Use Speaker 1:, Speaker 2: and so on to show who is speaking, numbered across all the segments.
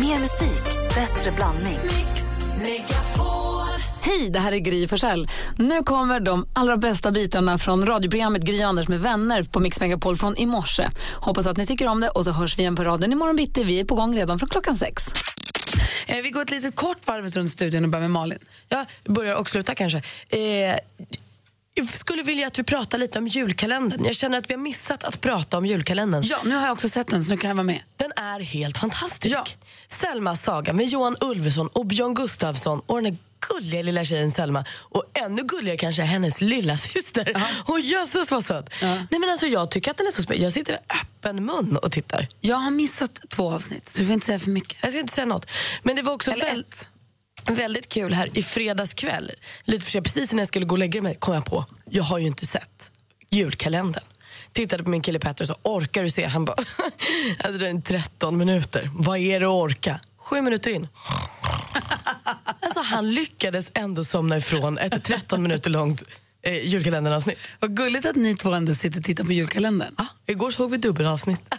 Speaker 1: Mer musik, bättre blandning.
Speaker 2: Hej, det här är Gry Forssell. Nu kommer de allra bästa bitarna från radioprogrammet Gry Anders med vänner på Mix Megapol från i morse. Hoppas att ni tycker om det och så hörs vi igen på raden imorgon bitti. Vi är på gång redan från klockan sex.
Speaker 3: Eh, vi går ett litet kort varv runt studion och börjar med Malin.
Speaker 4: Ja, börjar och slutar kanske. Eh, jag skulle vilja att vi pratar lite om julkalendern. Jag känner att vi har missat att prata om julkalendern.
Speaker 3: Ja, nu har jag också sett den så nu kan jag vara med.
Speaker 4: Den är helt fantastisk.
Speaker 3: Ja.
Speaker 4: Selmas saga med Johan Ulveson och Björn Gustafsson och den här gulliga lilla tjejen Selma och ännu gulligare kanske hennes lilla syster. Och jösses vad söt! Nej, men alltså, jag tycker att den är så spännande. Jag sitter med öppen mun och tittar.
Speaker 3: Jag har missat två avsnitt så du får inte säga för mycket.
Speaker 4: Jag ska inte säga något. Men det var också väl, väldigt kul här i fredags kväll. Lite för sig, precis när jag skulle gå och lägga mig kom jag på, jag har ju inte sett julkalendern. Tittade på min kille Petter och sa, orkar du se? Han bara, "Alltså, hade den 13 minuter. Vad är det att orka? Sju minuter in. Alltså han lyckades ändå somna ifrån ett 13 minuter långt eh, julkalenderavsnitt.
Speaker 3: Vad gulligt att ni två ändå sitter och tittar på julkalendern.
Speaker 4: Ja, igår såg vi dubbelavsnitt.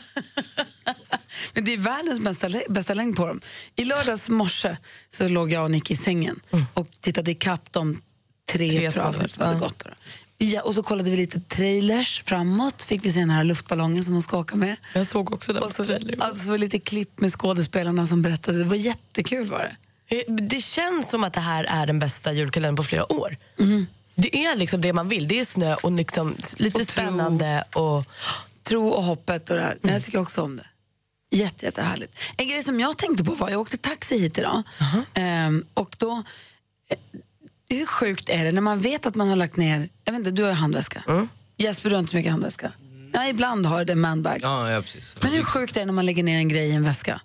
Speaker 3: Men det är världens bästa, lä- bästa längd på dem. I lördags morse så låg jag och Nick i sängen och tittade ikapp de Mm. tre,
Speaker 4: Tre
Speaker 3: tre
Speaker 4: som
Speaker 3: avsnitt som
Speaker 4: var-
Speaker 3: hade
Speaker 4: ja.
Speaker 3: gått. då. Ja, och så kollade vi lite trailers framåt. Fick vi se den här luftballongen som de ska åka med.
Speaker 4: Jag såg också den på trailern.
Speaker 3: Alltså så var det lite klipp med skådespelarna som berättade. Det var jättekul var det.
Speaker 4: Eh, Det känns som att det här är den bästa julkalendern på flera år. Det är liksom det man vill. Det är snö och liksom lite
Speaker 3: Och tro.
Speaker 4: spännande. Och...
Speaker 3: Tro och hoppet och det här. Nej, Jag tycker också om det. Jätte, jättehärligt. En grej som jag tänkte på var, jag åkte taxi hit idag Ehm, och då, eh, hur sjukt är det när man vet att man har lagt ner, jag vet inte, du har ju handväska. Jesper, du har inte så mycket handväska. Ja, ibland har du en manbag.
Speaker 5: Ja, ja precis.
Speaker 3: Men hur sjukt är det när man lägger ner en grej i en väska?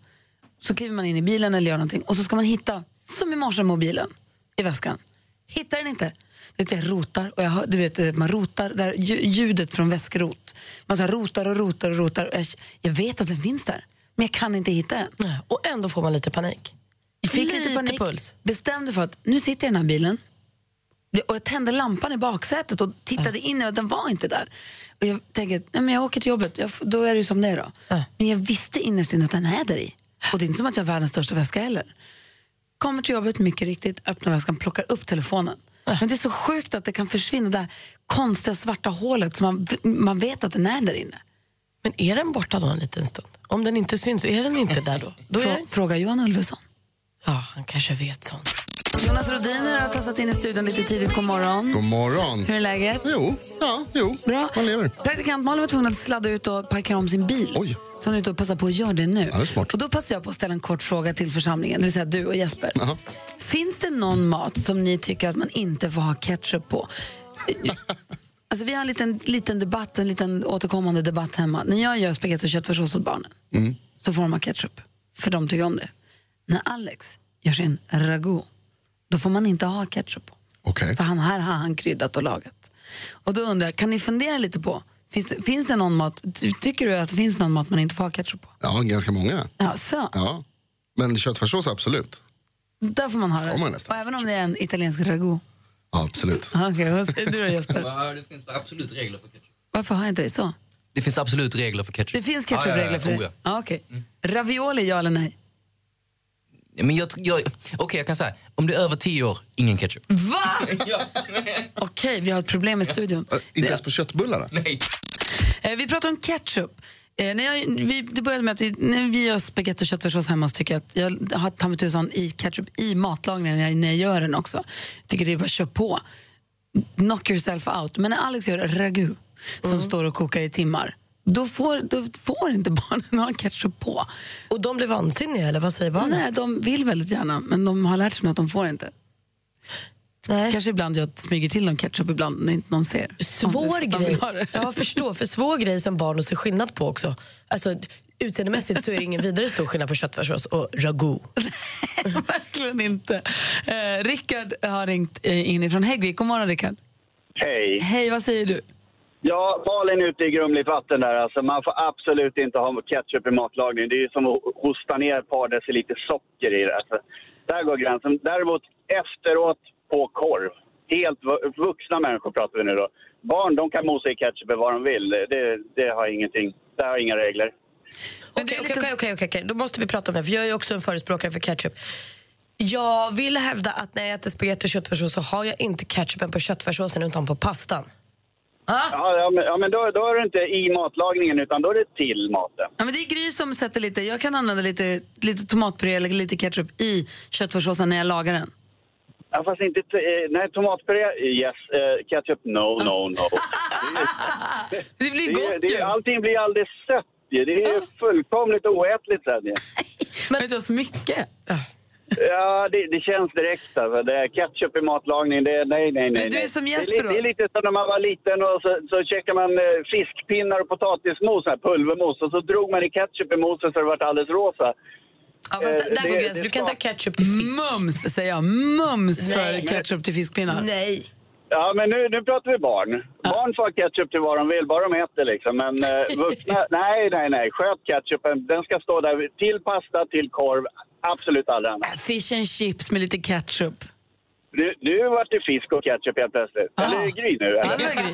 Speaker 3: Så kliver man in i bilen eller gör någonting och så ska man hitta, som i morse, mobilen i väskan. Hittar den inte. Du vet, jag rotar och jag hör, du vet, eh, man rotar, där, lju- ljudet från väskrot. Man så här rotar och rotar och rotar. Och jag, jag vet att den finns där, men jag kan inte hitta den.
Speaker 4: och ändå får man lite panik.
Speaker 3: Jag fick lite,
Speaker 4: Lite
Speaker 3: panik,
Speaker 4: puls.
Speaker 3: bestämde för att nu sitter jag i den här bilen Det- och jag tände lampan i baksätet och tittade in och den var inte där. Och jag tänker, nej men jag åker till jobbet, jag, f- då är det ju som det är då.
Speaker 4: Ja.
Speaker 3: Men jag visste innerst inne att den är där i. Och det är inte som att jag har världens största väska heller. Kommer till jobbet, mycket riktigt, öppnar väskan, plockar upp telefonen. Men det är så sjukt att det kan försvinna, det där konstiga svarta hålet som man, man vet att den är där inne.
Speaker 4: Men är den borta då en liten stund? Om den inte syns, är den inte där då? då är
Speaker 3: Frå,
Speaker 4: den... inte-
Speaker 3: fråga Johan Ulveson.
Speaker 4: Ja, han kanske vet sånt.
Speaker 3: Jonas Rodiner har tassat in i studion lite tidigt, god morgon.
Speaker 6: God morgon.
Speaker 3: Hur är läget?
Speaker 6: Jo, ja, jo.
Speaker 3: Bra.
Speaker 6: Man lever.
Speaker 3: Praktikant Malin var tvungen att sladda ut och parkera om sin bil.
Speaker 6: Oj.
Speaker 3: Så hon är ute och passar på att göra det nu.
Speaker 6: Ja, det är smart.
Speaker 3: Och då passar jag på att ställa en kort fråga till församlingen, det vill säga du och Jesper.
Speaker 6: Jaha.
Speaker 3: Finns det någon mat som ni tycker att man inte får ha ketchup på? alltså, vi har en liten, liten debatt, en liten återkommande debatt hemma. När jag gör spagetti och köttfärssås åt barnen
Speaker 6: Mm.
Speaker 3: så får de ha ketchup, för de tycker om det. När Alex gör sin ragout, då får man inte ha ketchup på.
Speaker 6: Okej.
Speaker 3: För han här har han kryddat och lagat. Och då undrar jag, kan ni fundera lite på, finns det, finns det någon mat, ty- tycker du att det finns någon mat man inte får ha ketchup på?
Speaker 6: Ja, ganska många.
Speaker 3: Ja, så.
Speaker 6: Ja. Men köttfärssås, absolut.
Speaker 3: Där får man ha
Speaker 6: man
Speaker 3: det.
Speaker 6: nästan.
Speaker 3: Och även om det är en italiensk ragout.
Speaker 6: Ja, absolut.
Speaker 3: Ja, Okej, vad säger du då Jesper?
Speaker 5: Ja, det finns absolut regler för ketchup.
Speaker 3: Varför har jag inte det så?
Speaker 5: Det finns absolut regler för ketchup.
Speaker 3: Det finns ketchupregler för
Speaker 5: ja, ja,
Speaker 3: det?
Speaker 5: ja. Oh,
Speaker 3: Ja, okej. Ravioli, ja eller nej?
Speaker 5: ja. Men jag, tr- jag, okej, jag kan säga, om det är över 10 år, ingen ketchup.
Speaker 3: Va? Okej, vi har ett problem i studion.
Speaker 6: Äh, Inte ens på köttbullarna?
Speaker 5: Nej.
Speaker 3: Eh, vi pratar om ketchup. Eh, när jag, vi, det började med att vi, när vi gör spagetti och köttfärssås hemma så tycker jag att jag har ta mig tusan i ketchup i matlagningen när jag, när jag gör den också. Jag tycker det är bara att köra på. Knock yourself out. Men när Alex gör ragu som
Speaker 4: Mm.
Speaker 3: står och kokar i timmar då får, då får inte barnen ha ketchup på.
Speaker 4: Och de blir vansinniga, eller vad säger barnen?
Speaker 3: Nej, de vill väldigt gärna men de har lärt sig nu att de får inte.
Speaker 4: Nej.
Speaker 3: Kanske ibland jag smyger till dem ketchup ibland när inte någon ser.
Speaker 4: Svår
Speaker 3: Om det är så att de
Speaker 4: grej.
Speaker 3: vill ha det.
Speaker 4: Jag förstår, för svår grej som barn att se skillnad på också. Alltså, utseendemässigt så är det ingen vidare stor skillnad på köttfärssås och ragout.
Speaker 3: Verkligen inte. Eh, Rickard har ringt eh, in från Häggvik. God morgon, Rickard.
Speaker 7: Hej.
Speaker 3: Hej, vad säger du?
Speaker 7: Ja, Malin är ute i grumligt vatten där. Alltså, man får absolut inte ha ketchup i matlagningen. Det är ju som att hosta ner ett par deciliter socker i det. Alltså, där går gränsen. Däremot efteråt på korv. Helt vu- vuxna människor pratar vi nu då. Barn, de kan mosa i ketchup vad de vill. Det, det har ingenting. Där har inga regler.
Speaker 3: Men det
Speaker 4: Okej,
Speaker 3: är
Speaker 4: okej,
Speaker 3: lite
Speaker 4: okej,
Speaker 3: så-
Speaker 4: okej, okej, okej. Då måste vi prata om det, för jag är ju också en förespråkare för ketchup. Jag vill hävda att när jag äter spagetti och köttfärssås så har jag inte ketchupen på köttfärssåsen utan på pastan. Ah,
Speaker 7: Ja, ja, men, ja, men då, då är det inte i matlagningen utan då är det till maten.
Speaker 3: Ja, men det är Gry som sätter lite, jag kan använda lite, lite tomatpuré eller lite ketchup i köttfärssåsen när jag lagar den.
Speaker 7: Ja, fast inte... t- Eh, nej, tomatpuré, yes. Eh, ketchup, no, no, no.
Speaker 3: Det blir
Speaker 7: Det, är-
Speaker 3: gott
Speaker 7: det,
Speaker 3: ju! Ah.
Speaker 7: är- allting blir alldeles sött ju. Det är fullkomligt oätligt sen ju.
Speaker 3: Men inte så mycket.
Speaker 7: Ja, det, det känns direkt alltså. Det är ketchup i matlagning, det är nej, nej, nej.
Speaker 3: Men du är
Speaker 7: nej.
Speaker 3: som
Speaker 7: det, är
Speaker 3: Jesper
Speaker 7: lite,
Speaker 3: då?
Speaker 7: det är lite som när man var liten och så, så käkade man eh, fiskpinnar och potatismos, så här pulvermos, och så drog man i ketchup i moset så det vart alldeles rosa.
Speaker 4: ja, fast där, där
Speaker 7: det-
Speaker 4: går
Speaker 7: Eh, det
Speaker 4: gränsen. Du
Speaker 7: är
Speaker 4: kan ta
Speaker 7: klart.
Speaker 4: ketchup till fisk.
Speaker 3: Mums säger jag, mums för
Speaker 4: Nej.
Speaker 3: ketchup till fiskpinnar.
Speaker 4: Nej.
Speaker 7: Ja, men nu, nu pratar vi barn.
Speaker 3: Ah.
Speaker 7: Barn får ha ketchup till vad de vill, bara de äter liksom. Men eh, vuxna, nej, nej, nej. Sköt ketchupen. Den ska stå där till pasta, till korv, absolut aldrig annat.
Speaker 3: Fish and chips med lite ketchup.
Speaker 7: Nu, nu vart det fisk och ketchup helt plötsligt.
Speaker 3: Ah.
Speaker 7: Eller är det Gry nu?
Speaker 3: Ja,
Speaker 7: Eller?
Speaker 3: det var Gry.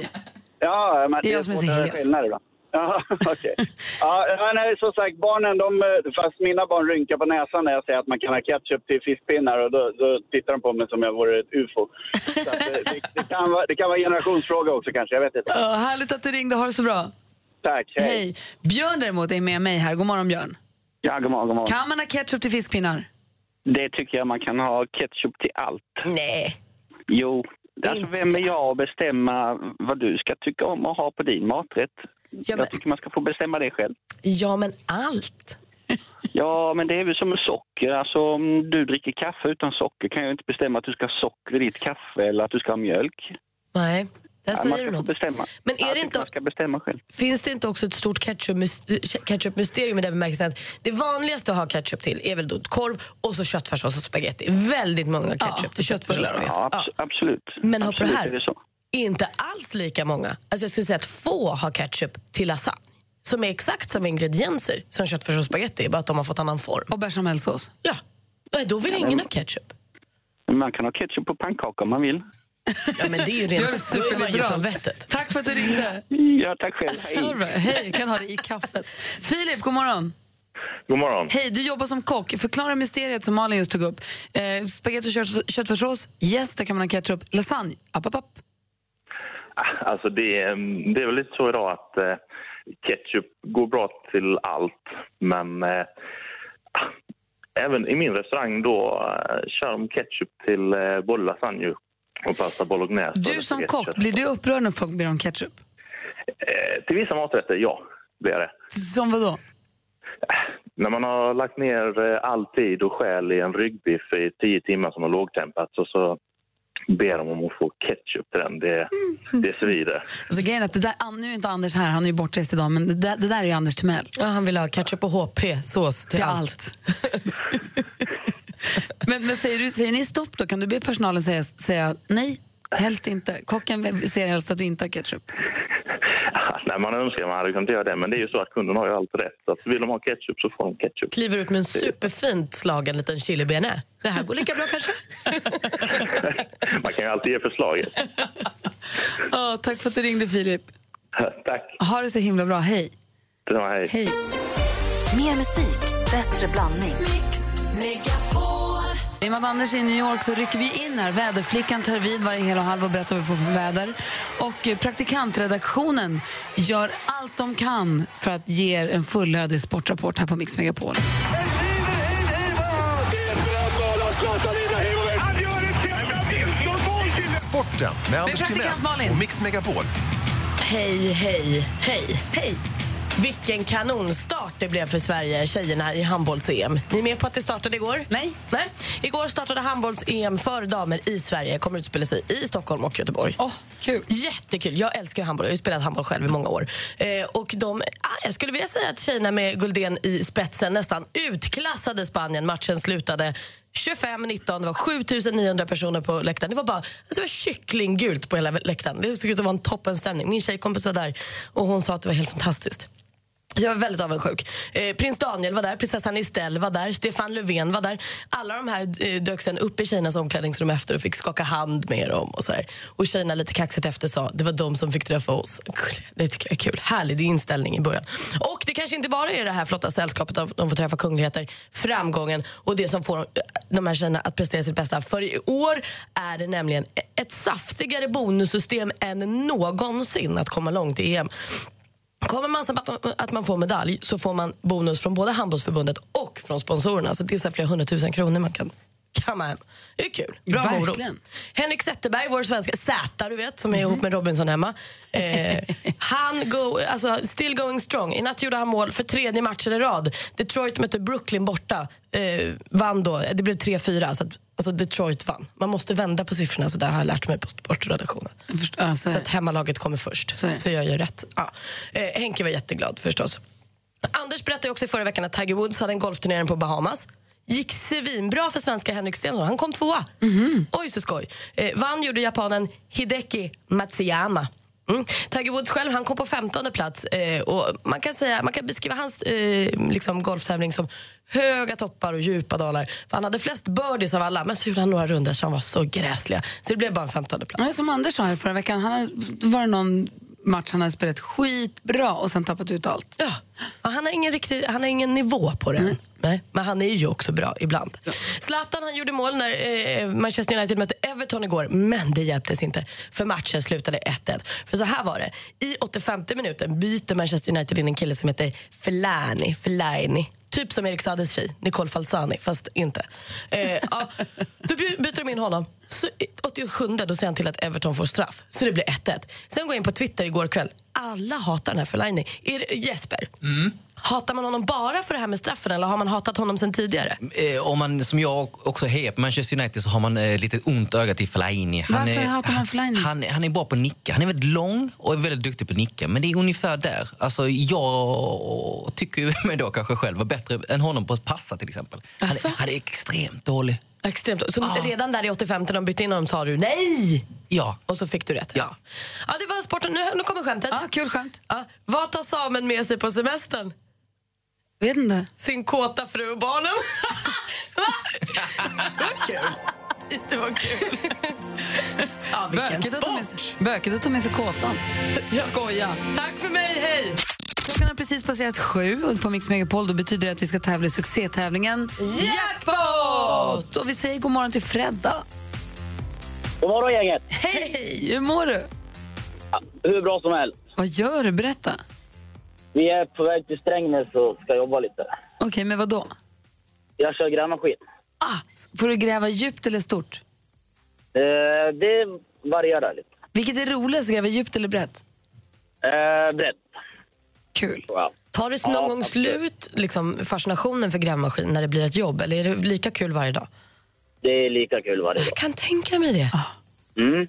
Speaker 7: Ja, men
Speaker 3: Det är jag som är så
Speaker 7: svårt att göra
Speaker 3: hes.
Speaker 7: skillnad ibland. Ja, okej. Ja, ja, nej, som sagt, barnen, de, eh, fast mina barn rynkar på näsan när jag säger att man kan ha ketchup till fiskpinnar och då, då tittar de på mig som jag vore ett ufo. Så att, eh, det, det, kan vara, det kan vara en generationsfråga också kanske, jag vet inte.
Speaker 3: Ja, härligt att du ringde, ha det så bra.
Speaker 7: Tack, hej.
Speaker 3: Hej. Björn däremot är med mig här, god morgon Björn.
Speaker 8: Ja, god morgon, god morgon.
Speaker 3: Kan man ha ketchup till fiskpinnar?
Speaker 8: Det tycker jag man kan ha ketchup till allt.
Speaker 4: Nej.
Speaker 8: Jo, alltså vem är jag att bestämma vad du ska tycka om att ha på din maträtt?
Speaker 4: men-
Speaker 8: Jag tycker man ska få bestämma det själv.
Speaker 4: Ja, men allt.
Speaker 8: Ja, men det är väl som med socker. Alltså om du dricker kaffe utan socker kan jag inte bestämma att du ska ha socker i ditt kaffe eller att du ska ha mjölk.
Speaker 4: Nej, där
Speaker 8: man
Speaker 4: säger
Speaker 8: ska
Speaker 4: du
Speaker 8: få
Speaker 4: något.
Speaker 8: bestämma.
Speaker 4: Men är
Speaker 8: jag
Speaker 4: det
Speaker 8: tycker
Speaker 4: inte-
Speaker 8: Man ska bestämma själv.
Speaker 4: Finns det inte också ett stort ketchup- ketchup-mysterium i den bemärkelsen att det vanligaste att ha ketchup till är väl då korv och så köttfärssås och spagetti. Väldigt många ketchup
Speaker 3: Ja,
Speaker 4: till köttfärssås och
Speaker 3: köttbullar och
Speaker 4: spagetti.
Speaker 8: Ja, abs- absolut.
Speaker 4: Men hör på det
Speaker 8: absolut
Speaker 4: här.
Speaker 8: är det så.
Speaker 4: Inte alls lika många. Alltså jag skulle säga att få har ketchup till lasagne som är exakt samma ingredienser som köttfärssås och spagetti, bara att de har fått annan form.
Speaker 3: Och bechamelsås.
Speaker 4: Ja, Nej, då vill ingen ha ketchup.
Speaker 8: Men Man kan ha ketchup på pannkaka om man vill.
Speaker 4: Ja, men det är ju
Speaker 3: Du är
Speaker 4: rent... Då är man ju
Speaker 3: superliberal.
Speaker 4: från vettet.
Speaker 3: Tack för att du ringde.
Speaker 8: Ja, tack själv.
Speaker 3: Ha
Speaker 8: Hej.
Speaker 3: det bra. Hej, kan ha det i kaffet. Filip, god morgon.
Speaker 9: God morgon.
Speaker 3: Hej, du jobbar som kock. Förklara mysteriet som Malin just tog upp. Eh, spagetti och kött, köttfärssås, yes, där kan man ha ketchup. Lasagne, app, app, app.
Speaker 9: Ah, Alltså det, eh, det är väl lite så idag att eh, ketchup går bra till allt. Men eh, ah, även i min restaurang då eh, kör de ketchup till eh, både lasagne och pasta bolognese. och
Speaker 3: Du som
Speaker 9: det spagetti
Speaker 3: kock,
Speaker 9: kött.
Speaker 3: blir du upprörd när folk ber om ketchup?
Speaker 9: Eh, till vissa maträtter, ja. Blir det.
Speaker 3: Som vadå?
Speaker 9: När man har lagt ner eh, all tid och själ i en ryggbiff i tio timmar som har lågtempats och så ber de om att få ketchup till den. Det,
Speaker 3: Mm.
Speaker 9: det svider.
Speaker 3: Alltså, grejen är att det där, an- nu är inte Anders här, han är ju bortrest idag, men det där, det där är ju Anders Timell.
Speaker 4: Ja, han vill ha ketchup och HP-sås till
Speaker 3: Till
Speaker 4: allt.
Speaker 3: allt. men men säger, du, säger ni stopp då? Kan du be personalen säga, säga nej? Helst inte. Kocken ser helst att du inte har ketchup.
Speaker 9: Nej, man önskar man hade kunnat göra det, men det är ju så att kunden har ju alltid rätt. Så att vill de ha ketchup så får de ketchup.
Speaker 4: kliver ut med en superfint slagen liten chilibena. Det här går lika bra kanske?
Speaker 9: Man kan ju alltid ge förslaget.
Speaker 3: Ja, tack för att du ringde Filip.
Speaker 9: Tack.
Speaker 3: Ha det så himla bra. Hej.
Speaker 9: Detsamma, Hej.
Speaker 3: Hej.
Speaker 10: Mer musik, bättre blandning.
Speaker 3: I och med att Anders är i New York så rycker vi in här. Väderflickan tar vid varje hel och halv och berättar vad vi får för väder. Och eh, praktikantredaktionen gör allt de kan för att ge er en fullödig sportrapport här på Mix Megapol.
Speaker 11: Sporten med Anders
Speaker 3: praktikant
Speaker 11: Timell
Speaker 3: Malin.
Speaker 11: och Mix Megapol.
Speaker 4: Hej, hej, hej.
Speaker 3: Hej!
Speaker 4: Vilken kanonstart det blev för Sverige, tjejerna i handbolls-EM. Ni är med på att det startade igår?
Speaker 3: Nej.
Speaker 4: Nej. Igår startade handbolls-EM för damer i Sverige. kommer utspela sig i Stockholm och Göteborg.
Speaker 3: Åh, kul.
Speaker 4: Jättekul. Jag älskar ju handboll. Jag har ju spelat handboll själv i många år. Eh, och de, ah, jag skulle vilja säga att tjejerna med Guldén i spetsen nästan utklassade Spanien. Matchen slutade 25-19. Det var 7900 personer på läktaren. Det var bara alltså det var kycklinggult på hela läktaren. Det såg ut att vara en toppenstämning. Min tjejkompis var där och hon sa att det var helt fantastiskt. Jag var väldigt avundsjuk. Eh, prins Daniel var där, prinsessan Estelle var där, Stefan Löfven var där. Alla de här eh, dök sen upp i tjejernas omklädningsrum efter och fick skaka hand med dem. Och, så här. och tjejerna lite kaxigt efter sa det var de som fick träffa oss. Det tycker jag är kul. Härlig inställning i början. Och det kanske inte bara är det här flotta sällskapet av de får träffa kungligheter, framgången och det som får eh, de här tjejerna att prestera sitt bästa. För i år är det nämligen ett saftigare bonussystem än någonsin att komma långt i E EM. Kommer man sen på att- att man får medalj så får man bonus från både handbollsförbundet och från sponsorerna. Så det är så här flera hundratusen kronor man kan kamma hem. Det är kul. Bra
Speaker 3: Verkligen.
Speaker 4: morot. Henrik Zetterberg, vår svenska Z, du vet, som är ihop med Robinson hemma. Eh, han go, alltså, still going strong. I natt gjorde han mål för tredje matchen i rad. Detroit mötte Brooklyn borta. Eh, vann då. Det blev 3-4. Så att, alltså Detroit vann. Man måste vända på siffrorna, så där har jag lärt mig på sportredaktionen. så att hemmalaget kommer först. Så, jag gör rätt. Ja. Eh, Henke var jätteglad förstås. Anders berättade också i förra veckan att Tiger Woods hade en golfturnering på Bahamas. Gick svinbra för svenska Henrik Stenson. Han kom tvåa. Oj, så skoj. Eh, vann gjorde japanen Hideki Matsuyama. Mm. Tiger Woods själv han kom på 15 plats. Eh, och man, kan säga, man kan beskriva hans eh, liksom golftävling som höga toppar och djupa dalar. För han hade flest birdies av alla, men så gjorde han några rundor som var så gräsliga. Så det blev bara en 15 plats.
Speaker 3: Ja, som Anders sa här förra veckan, han hade- var det någon match han hade spelat skitbra och sen tappat ut allt.
Speaker 4: Ja, och han, har ingen riktig, han har ingen nivå på det. Nej, men han är ju också bra ibland. Zlatan han gjorde mål när eh, Manchester United mötte Everton igår, men det hjälptes inte för matchen slutade 1-1. För så här var det, i 85 minuten byter Manchester United in en kille som heter Fellaini, Fellaini. Typ som Erik Saades tjej, Nicole Falzani, fast inte. Eh, ja, då by- byter de in honom. Så i 87 då ser han till att Everton får straff, så det blir 1-1. Sen går jag in på Twitter igår kväll. Alla hatar den här Fellaini. Är det Jesper, hatar man honom bara för det här med straffen eller har man hatat honom sen tidigare?
Speaker 5: Eh, om man som jag också hejar på Manchester United så har man eh, lite ont öga till Fellaini.
Speaker 3: Varför
Speaker 5: är,
Speaker 3: hatar man Fellaini?
Speaker 5: Han, han är bra på att nicka. Han är väldigt lång och är väldigt duktig på att nicka. Men det är ungefär där. Alltså, jag tycker ju mig då kanske själv vara bättre än honom på att passa till exempel. Han, är, han är extremt dålig.
Speaker 4: Extremt. Så redan där i 85 när de bytte in honom sa du nej!
Speaker 5: Ja.
Speaker 4: Och så fick du rätt. Ja. Ja, det var sporten. Nu, nu kommer skämtet. Ja,
Speaker 3: kul skämt.
Speaker 4: Ja. Vad tar Samen med sig på semestern?
Speaker 3: Vet inte.
Speaker 4: Sin kåta fru och barnen. det var kul. Det var kul. ja, vilken
Speaker 3: Bökigt att ta med
Speaker 4: sport!
Speaker 3: sig- Bökigt att ta med sig kåtan. Skoja.
Speaker 4: Tack för mig, hej!
Speaker 3: Klockan har precis passerat sju och på Mix Megapol då betyder det att vi ska tävla i succétävlingen Jackpot! Och vi säger god morgon till Fredda.
Speaker 12: God morgon gänget!
Speaker 3: Hej! Hur mår du?
Speaker 12: Hur bra som helst.
Speaker 3: Vad gör du? Berätta.
Speaker 12: Vi är på väg till Strängnäs och ska jobba lite.
Speaker 3: Okej, men vad då?
Speaker 12: Jag kör grävmaskin.
Speaker 3: Ah! Får du gräva djupt eller stort?
Speaker 12: Eh, det varierar lite.
Speaker 3: Vilket är roligast, gräva djupt eller brett?
Speaker 12: Eh, brett.
Speaker 3: Kul.
Speaker 4: Tar det någon
Speaker 12: Ja,
Speaker 4: gång
Speaker 12: absolut.
Speaker 4: slut liksom, fascinationen för grävmaskin när det blir ett jobb eller är det lika kul varje dag?
Speaker 12: Det är lika kul varje dag.
Speaker 4: Jag kan tänka mig det.
Speaker 12: Mm.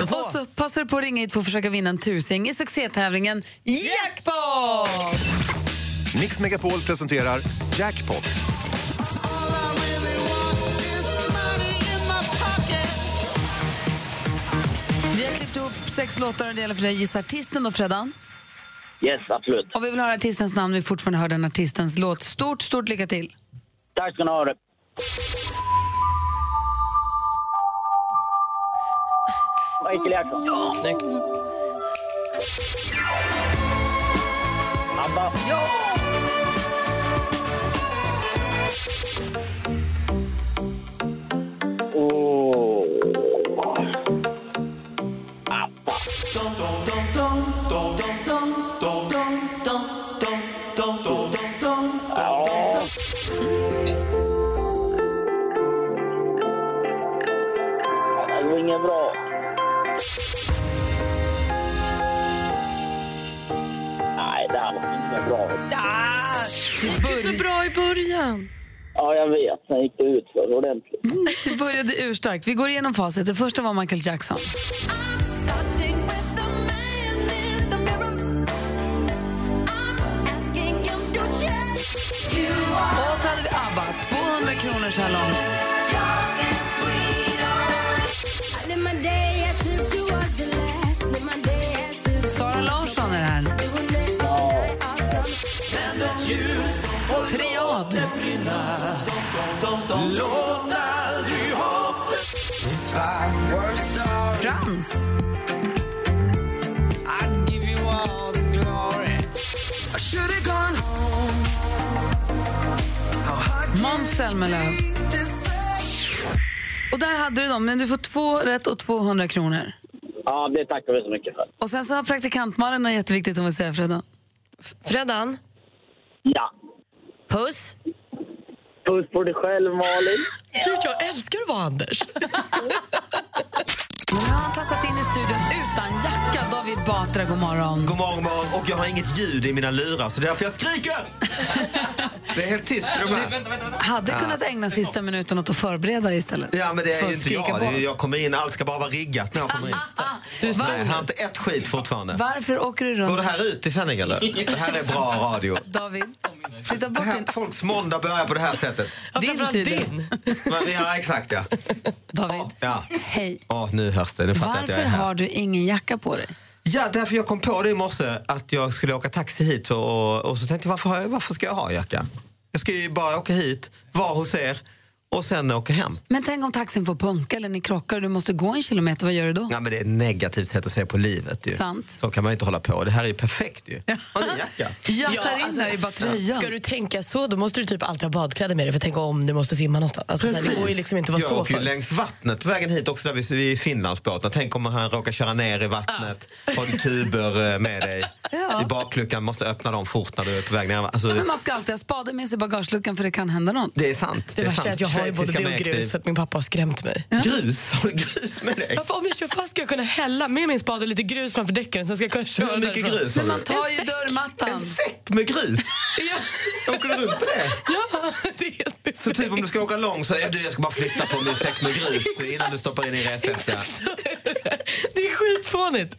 Speaker 3: Och så passar du på att ringa hit för att försöka vinna en tusing i succétävlingen Jackpot!
Speaker 11: Mix Megapol presenterar Jackpot.
Speaker 3: Vi har klippt ihop sex låtar och det gäller för dig att gissa artisten då, Freddan.
Speaker 12: Yes, absolut.
Speaker 3: Och vi vill höra artistens namn, vi fortfarande hör den artistens låt. Stort, stort lycka till!
Speaker 12: Tack ska ni ha. Michael Jackson.
Speaker 4: Ja. Snyggt.
Speaker 12: ABBA.
Speaker 3: Ja!
Speaker 12: Oh. Det var inget bra. Nej, det här var inget bra.
Speaker 3: Ah,
Speaker 4: det gick ju så bra i början.
Speaker 12: Ja, jag vet. Sen gick det ut för ordentligt.
Speaker 3: Det började urstarkt. Vi går igenom facit. Det första var Michael Jackson. Och så hade vi ABBA. 200 kronor så här långt. Sara Larsson är här. Triad. Frans. Måns Zelmerlöw. Och där hade du dem, men du får två rätt och 200 kronor.
Speaker 12: Ja, det tackar vi så mycket för.
Speaker 3: Och sen så har praktikantmannen något jätteviktigt hon vill säga, Freddan.
Speaker 4: Freddan?
Speaker 12: Ja.
Speaker 4: Puss?
Speaker 12: Puss på dig själv, Malin.
Speaker 4: Gud, jag älskar att vara Anders.
Speaker 3: Nu har han tassat in i studion utan jacka. David Batra, god morgon.
Speaker 13: God morgon, god morgon. Och jag har inget ljud i mina lurar, så det är därför jag skriker! det är helt tyst i de här.
Speaker 3: Hade
Speaker 13: Ja.
Speaker 3: kunnat ägna sista minuten åt att förbereda dig istället.
Speaker 13: Ja, men det är
Speaker 3: För
Speaker 13: ju
Speaker 3: att
Speaker 13: inte
Speaker 3: skrika på
Speaker 13: jag. Det är,
Speaker 3: oss.
Speaker 13: jag kommer in, allt ska bara vara riggat när jag kommer in. Nej, jag har inte ett skit fortfarande.
Speaker 3: Varför åker du
Speaker 13: Går det
Speaker 3: runt?
Speaker 13: här ut i sändning eller? Det här är bra radio.
Speaker 3: David, flytta bort
Speaker 13: Det här, folks måndag börjar på det här sättet.
Speaker 3: din tydligen.
Speaker 13: Men, ja, exakt ja.
Speaker 3: David,
Speaker 13: ja.
Speaker 3: hej.
Speaker 13: Ja, nu hörs det. Nu fattar jag att jag
Speaker 3: Varför
Speaker 13: är här.
Speaker 3: har du ingen jacka på dig?
Speaker 13: Ja, därför jag kom på det i morse att jag skulle åka taxi hit och, och, och så tänkte jag varför, har jag varför ska jag ha jacka? Jag ska ju bara åka hit, vara hos er och sen åka hem.
Speaker 3: Men tänk om taxin får punka eller ni krockar och du måste gå en kilometer, vad gör du då?
Speaker 13: Ja, men det är ett negativt sätt att se på livet. Ju.
Speaker 3: Sant.
Speaker 13: Så kan man ju inte hålla på. Det här är ju perfekt ju. Har ni jacka?
Speaker 3: Jassar in där i bara tröjan.
Speaker 4: Ska du tänka så, då måste du typ alltid ha badkläder med dig för tänk om du måste simma någonstans. Alltså, så här, det går ju liksom inte vara
Speaker 13: jag
Speaker 4: så
Speaker 13: åker ju
Speaker 4: farligt.
Speaker 13: längs vattnet på vägen hit också där vid, vid Finlandsbåten. Tänk om han råkar köra ner i vattnet. Har du tuber eh, med dig
Speaker 3: Ja.
Speaker 13: i bakluckan. Måste öppna dem fort när du är på väg ner. Alltså,
Speaker 3: Men man ska alltid ha spaden med sig i bagageluckan för det kan hända något.
Speaker 13: det är sant.
Speaker 4: Det värsta är
Speaker 13: sant.
Speaker 4: att jag har ju både
Speaker 13: Schweiziska
Speaker 4: det och grus
Speaker 13: mäktig-
Speaker 4: för att min pappa har skrämt mig.
Speaker 13: Grus? Har du grus med dig?
Speaker 4: Varför, om jag kör fast ska jag kunna hälla med min spade lite grus framför däcken sen ska jag kunna köra
Speaker 13: Hur mycket
Speaker 4: därifrån.
Speaker 13: grus har Men man du? tar
Speaker 4: En
Speaker 13: ju
Speaker 4: säck.
Speaker 3: dörrmattan. En
Speaker 13: säck med grus? Åker du runt på det?
Speaker 4: Ja, det är helt
Speaker 13: Så typ om du ska åka lång så är du jag ska bara flytta på min säck med grus innan du stoppar in i resväskan.
Speaker 4: Det är skitfånigt.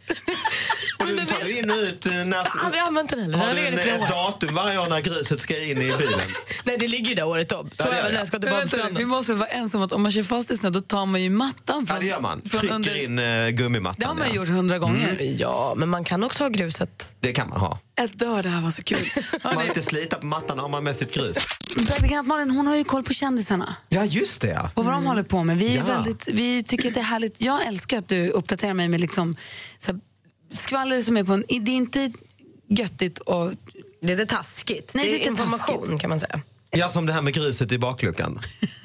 Speaker 13: Och du tar du in och ut eh, när... Jag
Speaker 4: har aldrig använt den heller.
Speaker 13: Har
Speaker 4: Den
Speaker 13: du
Speaker 4: ligger
Speaker 13: en, eh,
Speaker 4: i flera
Speaker 13: ett
Speaker 4: år.
Speaker 13: datum varje år när gruset ska in i bilen?
Speaker 4: Nej, det ligger ju där året om. Så
Speaker 13: Ja, det gör
Speaker 4: även när
Speaker 13: jag.
Speaker 4: jag ska till
Speaker 3: Men vänta,
Speaker 4: badstranden.
Speaker 3: vi måste vara ensamma att om man kör fast i snö då tar man ju mattan från...
Speaker 13: Ja, det gör man.
Speaker 3: Från
Speaker 13: Trycker
Speaker 3: under-
Speaker 13: in eh, gummimattan.
Speaker 3: Det har man
Speaker 13: ja. Mm.
Speaker 3: gjort hundra gånger.
Speaker 4: Mm. Ja, men man kan också ha gruset.
Speaker 13: Det kan man ha.
Speaker 3: Ett dör, det här var så kul.
Speaker 13: Man vill inte slita på mattan har man med sitt grus.
Speaker 3: Praktikantmannen, hon har ju koll på kändisarna.
Speaker 13: Ja, just det ja.
Speaker 3: Och vad de håller på med. Vi, är
Speaker 13: Ja.
Speaker 3: väldigt, vi tycker att det är härligt. Jag älskar att du uppdaterar mig med liksom, så här, skvaller som är på en... Det är inte göttigt och...
Speaker 4: Det är taskigt.
Speaker 3: Nej, det är,
Speaker 4: Det är
Speaker 3: inte
Speaker 4: information,
Speaker 3: taskigt.
Speaker 4: kan man säga.
Speaker 13: Ja, som det här med gruset i bakluckan.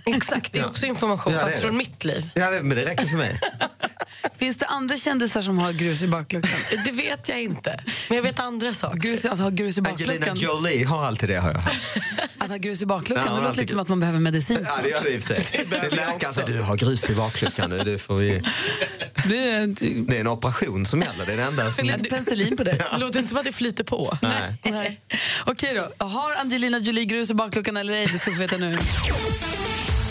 Speaker 4: Exakt, det är också information
Speaker 13: Ja, det
Speaker 4: fast
Speaker 13: är
Speaker 4: från
Speaker 13: det.
Speaker 4: mitt liv.
Speaker 13: Ja, det, men det räcker för mig.
Speaker 3: Finns det andra kändisar som har grus i bakluckan?
Speaker 4: Det vet jag inte. Men jag vet andra saker.
Speaker 3: Grus, i- alltså, har grus i
Speaker 13: Angelina
Speaker 3: bakluckan.
Speaker 13: Jolie har alltid det har jag hört.
Speaker 3: Att ha grus i bakluckan,
Speaker 13: Ja, hon
Speaker 3: det låter
Speaker 13: har alltid
Speaker 3: lite som att man behöver medicin.
Speaker 13: Ja, det gör det i och för sig. Det är läkaren säger du har grus i bakluckan nu. Det, får vi... det är en operation som gäller. Det är det enda som...
Speaker 3: Lite penicillin på det.
Speaker 4: Det låter inte som att det flyter på.
Speaker 13: Nej.
Speaker 3: Nej. Okej då, har Angelina Jolie grus i bakluckan eller ej? Det ska vi få veta nu.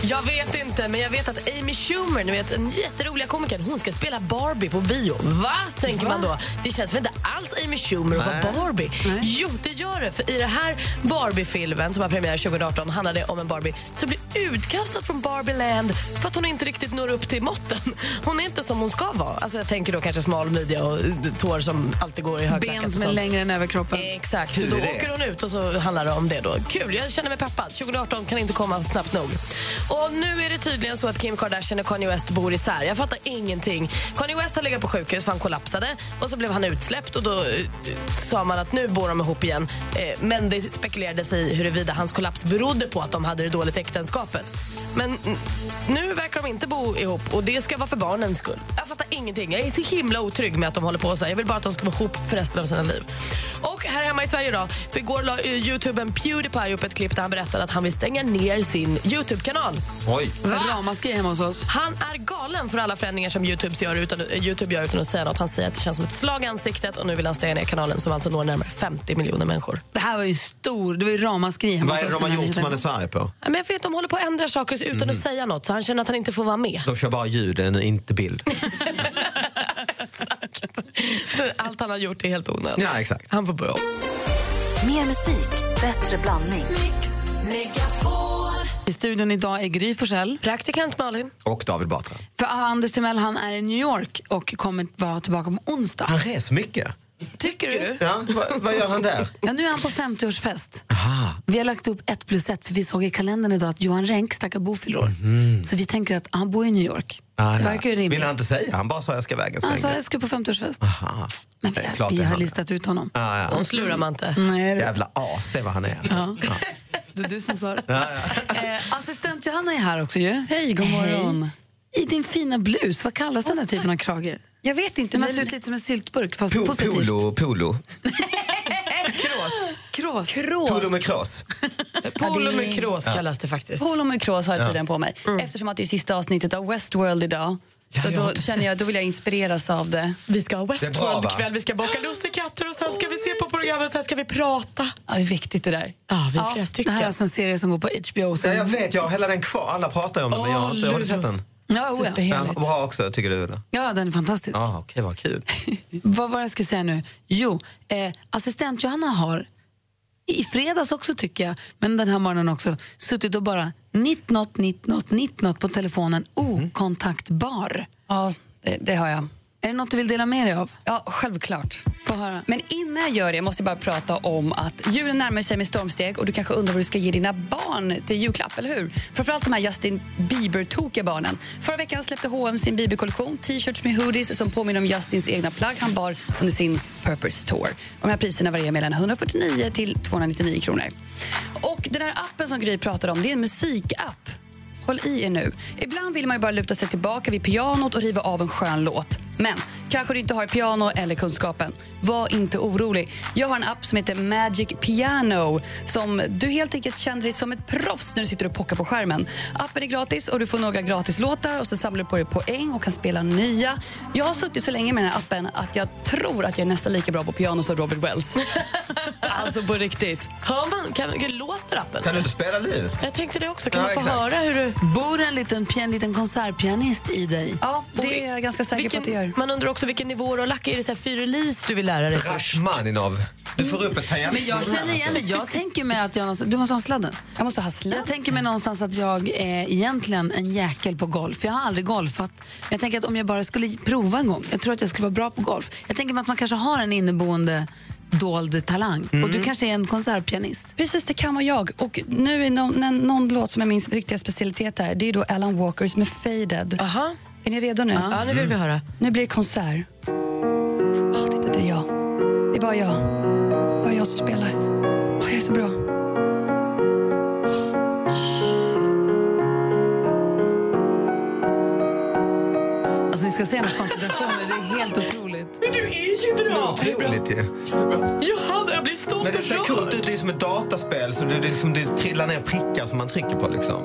Speaker 4: Jag vet inte, men jag vet att Amy Schumer, ni vet, den jätteroliga komikern, hon ska spela Barbie på bio. Va? Tänker man då. Det känns väl inte alls Amy Schumer att
Speaker 14: Nej.
Speaker 4: vara Barbie? Jo, det gör det. För i den här Barbie-filmen som har premiär 2018 handlar det om en Barbie som blir utkastad från Barbie-land för att hon inte riktigt når upp till måtten. Hon är inte som hon ska vara. Alltså, jag tänker då kanske smal midja och eh, tår som alltid går i högklackat.
Speaker 3: Ben
Speaker 4: och
Speaker 3: som är
Speaker 4: sånt.
Speaker 3: längre än överkroppen.
Speaker 4: Exakt, så då åker hon ut och så handlar det om det då. Kul, jag känner mig peppad. 2018 kan inte komma snabbt nog. Och nu är det tydligen så att Kim Kardashian och Kanye West bor isär. Jag fattar ingenting. Kanye West har legat på sjukhus för han kollapsade och så blev han utsläppt och då eh, sa man att nu bor de ihop igen. Eh, Men det spekulerades i huruvida hans kollaps berodde på att de hade det dåligt i äktenskapet. Men mm, nu verkar de inte bo ihop och det ska vara för barnens skull. Jag fattar ingenting. Jag är så himla otrygg med att de håller på så här. Jag vill bara att de ska vara ihop för resten av sina liv. Och här hemma i Sverige då. För igår la eh, youtubern Pewdiepie upp ett klipp där han berättade att han vill stänga ner sin Youtube-kanal.
Speaker 13: Oj.
Speaker 3: Ramaskri hemma hos oss.
Speaker 4: Han är galen för alla förändringar som YouTube gör, utan, eh, YouTube gör utan att säga något. Han säger att det känns som ett slag i ansiktet och nu vill han stänga ner kanalen som alltså når närmare 50 miljoner människor.
Speaker 3: Det här var ju stor, det var ju ramaskri hemma
Speaker 13: Vad är det
Speaker 3: hos oss
Speaker 13: de har
Speaker 3: när vi
Speaker 13: gjort som man
Speaker 3: hittade
Speaker 13: är så arg på?
Speaker 4: Ja, Men jag vet att de håller på att ändra saker utan att säga något så han känner att han inte får vara med.
Speaker 13: De kör bara ljuden, inte bild.
Speaker 4: Allt han har gjort är helt onödigt.
Speaker 13: Ja, exakt.
Speaker 4: Han får börja om.
Speaker 10: Mer musik, bättre blandning.
Speaker 3: I studion idag är Gry Forssell.
Speaker 4: Praktikant Malin.
Speaker 13: Och David Batra.
Speaker 3: För Anders Timell han är i New York och kommer vara tillbaka på onsdag.
Speaker 13: Han reser mycket.
Speaker 1: Ah, Tycker du?
Speaker 13: Ja, vad, vad gör han där?
Speaker 1: Ja, nu är han på 50-årsfest. Vi har lagt upp ett plus ett, för vi såg i kalendern idag att Johan Renck, stackar Bo, fyller år.
Speaker 13: Mhm. Ah,
Speaker 1: Så vi tänker att han bor i New York. Det verkar ju rimligt.
Speaker 13: Vill han inte säga? Han bara sa jag ska väga
Speaker 1: Han sa
Speaker 13: svänga.
Speaker 1: jag ska på 50-årsfest.
Speaker 13: Aha. Men vi,
Speaker 1: Vi har listat ut honom.
Speaker 13: Ja, ja.
Speaker 1: Sånt slurar man inte. Nej, det-
Speaker 13: Jävla as, se vad han är. Alltså.
Speaker 1: Ja. Det är du som sa det.
Speaker 13: Ja,
Speaker 1: Eh, assistent Johanna är här också ju. Hej, god morgon. I din fina blus, vad kallas den här typen av krage? Jag vet inte. Den men... ser ut lite som en syltburk, fast
Speaker 13: Po-
Speaker 1: positivt.
Speaker 13: Polo, polo.
Speaker 1: Krås. Krås.
Speaker 13: Polo med kross.
Speaker 14: Polo med krås
Speaker 13: Ja.
Speaker 14: kallas det faktiskt. Polo med krås har jag
Speaker 13: Ja.
Speaker 14: tydligen på mig.
Speaker 1: Mm.
Speaker 14: Eftersom att det är sista avsnittet av Westworld idag.
Speaker 4: Ja,
Speaker 14: så
Speaker 4: jag har
Speaker 14: då
Speaker 4: inte
Speaker 14: känner jag, då vill jag inspireras av det. Vi ska ha
Speaker 4: Det är bra, Westworld va? ikväll. Vi ska baka lussekatter och sen ska vi se på programmet och sen ska vi prata.
Speaker 14: Ja, det är viktigt det där.
Speaker 4: Ja, vi är flera
Speaker 1: Det
Speaker 4: stycken.
Speaker 1: här är alltså en serie som går på HBO.
Speaker 13: Ja, jag vet, jag har hela den kvar. Alla pratar ju om den, men jag har, inte, har du sett den?
Speaker 1: Ja, oh, ja.
Speaker 13: Ja, bra också, tycker du? eller?
Speaker 1: ja, den är fantastisk.
Speaker 13: Ja, okej, vad kul.
Speaker 1: Vad var det jag skulle säga nu? Jo, eh, assistent Johanna har i fredags också tycker jag, men den här morgonen också, suttit och bara nitt något, nitt något, nitt något på telefonen, okontaktbar.
Speaker 14: Ja, det, det har jag.
Speaker 1: Är det något du vill dela med dig av?
Speaker 14: Ja, självklart.
Speaker 1: Få höra.
Speaker 14: Men innan jag gör det måste jag bara prata om att julen närmar sig med stormsteg och du kanske undrar vad du ska ge dina barn till julklapp, eller hur? Framförallt de här Justin Bieber-tokiga barnen. Förra veckan släppte H&M sin Bieber-kollektion, t-shirts med hoodies som påminner om Justins egna plagg han bar under sin Purpose Tour. Och de här priserna varierar mellan 149 till 299 kronor. Och den här appen som Gry pratade om, det är en musikapp. Håll i er nu. Ibland vill man ju bara luta sig tillbaka vid pianot och riva av en skön låt. Men kanske du inte har piano eller kunskapen. Var inte orolig. Jag har en app som heter Magic Piano som du helt enkelt känner dig som ett proffs när du sitter och pockar på skärmen. Appen är gratis och du får några gratislåtar och så samlar du på dig poäng och kan spela nya. Jag har suttit så länge med den här appen att jag tror att jag är nästan lika bra på piano som Robert Wells. alltså på riktigt.
Speaker 4: Hör man, kan, kan, låter appen?
Speaker 13: Kan du inte spela live?
Speaker 4: Jag tänkte det också. Kan
Speaker 13: Ja,
Speaker 4: man få
Speaker 13: exakt.
Speaker 4: höra hur du...
Speaker 1: Bor en liten, en liten konsertpianist i dig?
Speaker 14: Ja, det är jag ganska säker
Speaker 4: vilken,
Speaker 14: på att det gör.
Speaker 4: Man undrar också vilken nivå du har lackat. Är det så här fyrelis du vill lära dig? först?
Speaker 13: Rachmaninov. Du får upp ett tangentbord.
Speaker 3: Men jag känner igen det. Jag tänker mig att jag... någonstans- Du måste ha sladden.
Speaker 14: Jag måste ha sladden.
Speaker 3: Jag tänker mig någonstans att jag är egentligen en jäkel på golf. Jag har aldrig golfat. Jag tänker att om jag bara skulle prova en gång. Jag tror att jag skulle vara bra på golf. Jag tänker mig att man kanske har en inneboende dold talang. Och du
Speaker 14: Mm.
Speaker 3: kanske är en konsertpianist.
Speaker 14: Precis, det kan vara jag. Och nu är någon, någon, någon låt som är min riktiga specialitet här. Det är då Alan Walkers med Faded.
Speaker 4: Aha.
Speaker 14: Är ni redo nu?
Speaker 4: Ja, nu vill vi Mm. höra.
Speaker 14: Nu blir det konsert. Åh, titta, det är jag. Det är bara jag. Bara jag som spelar. Åh, jag är så bra.
Speaker 3: Alltså ni ska se hennes koncentrationer. Det är helt otroligt.
Speaker 4: Men du är ju bra!
Speaker 13: Det är otroligt ju.
Speaker 4: Johanna, jag blir stolt
Speaker 13: Men det ser
Speaker 4: och
Speaker 13: coolt ut.
Speaker 4: rörd.
Speaker 13: Det är som ett dataspel. Så det, det, liksom, det trillar ner prickar som man trycker på. Liksom.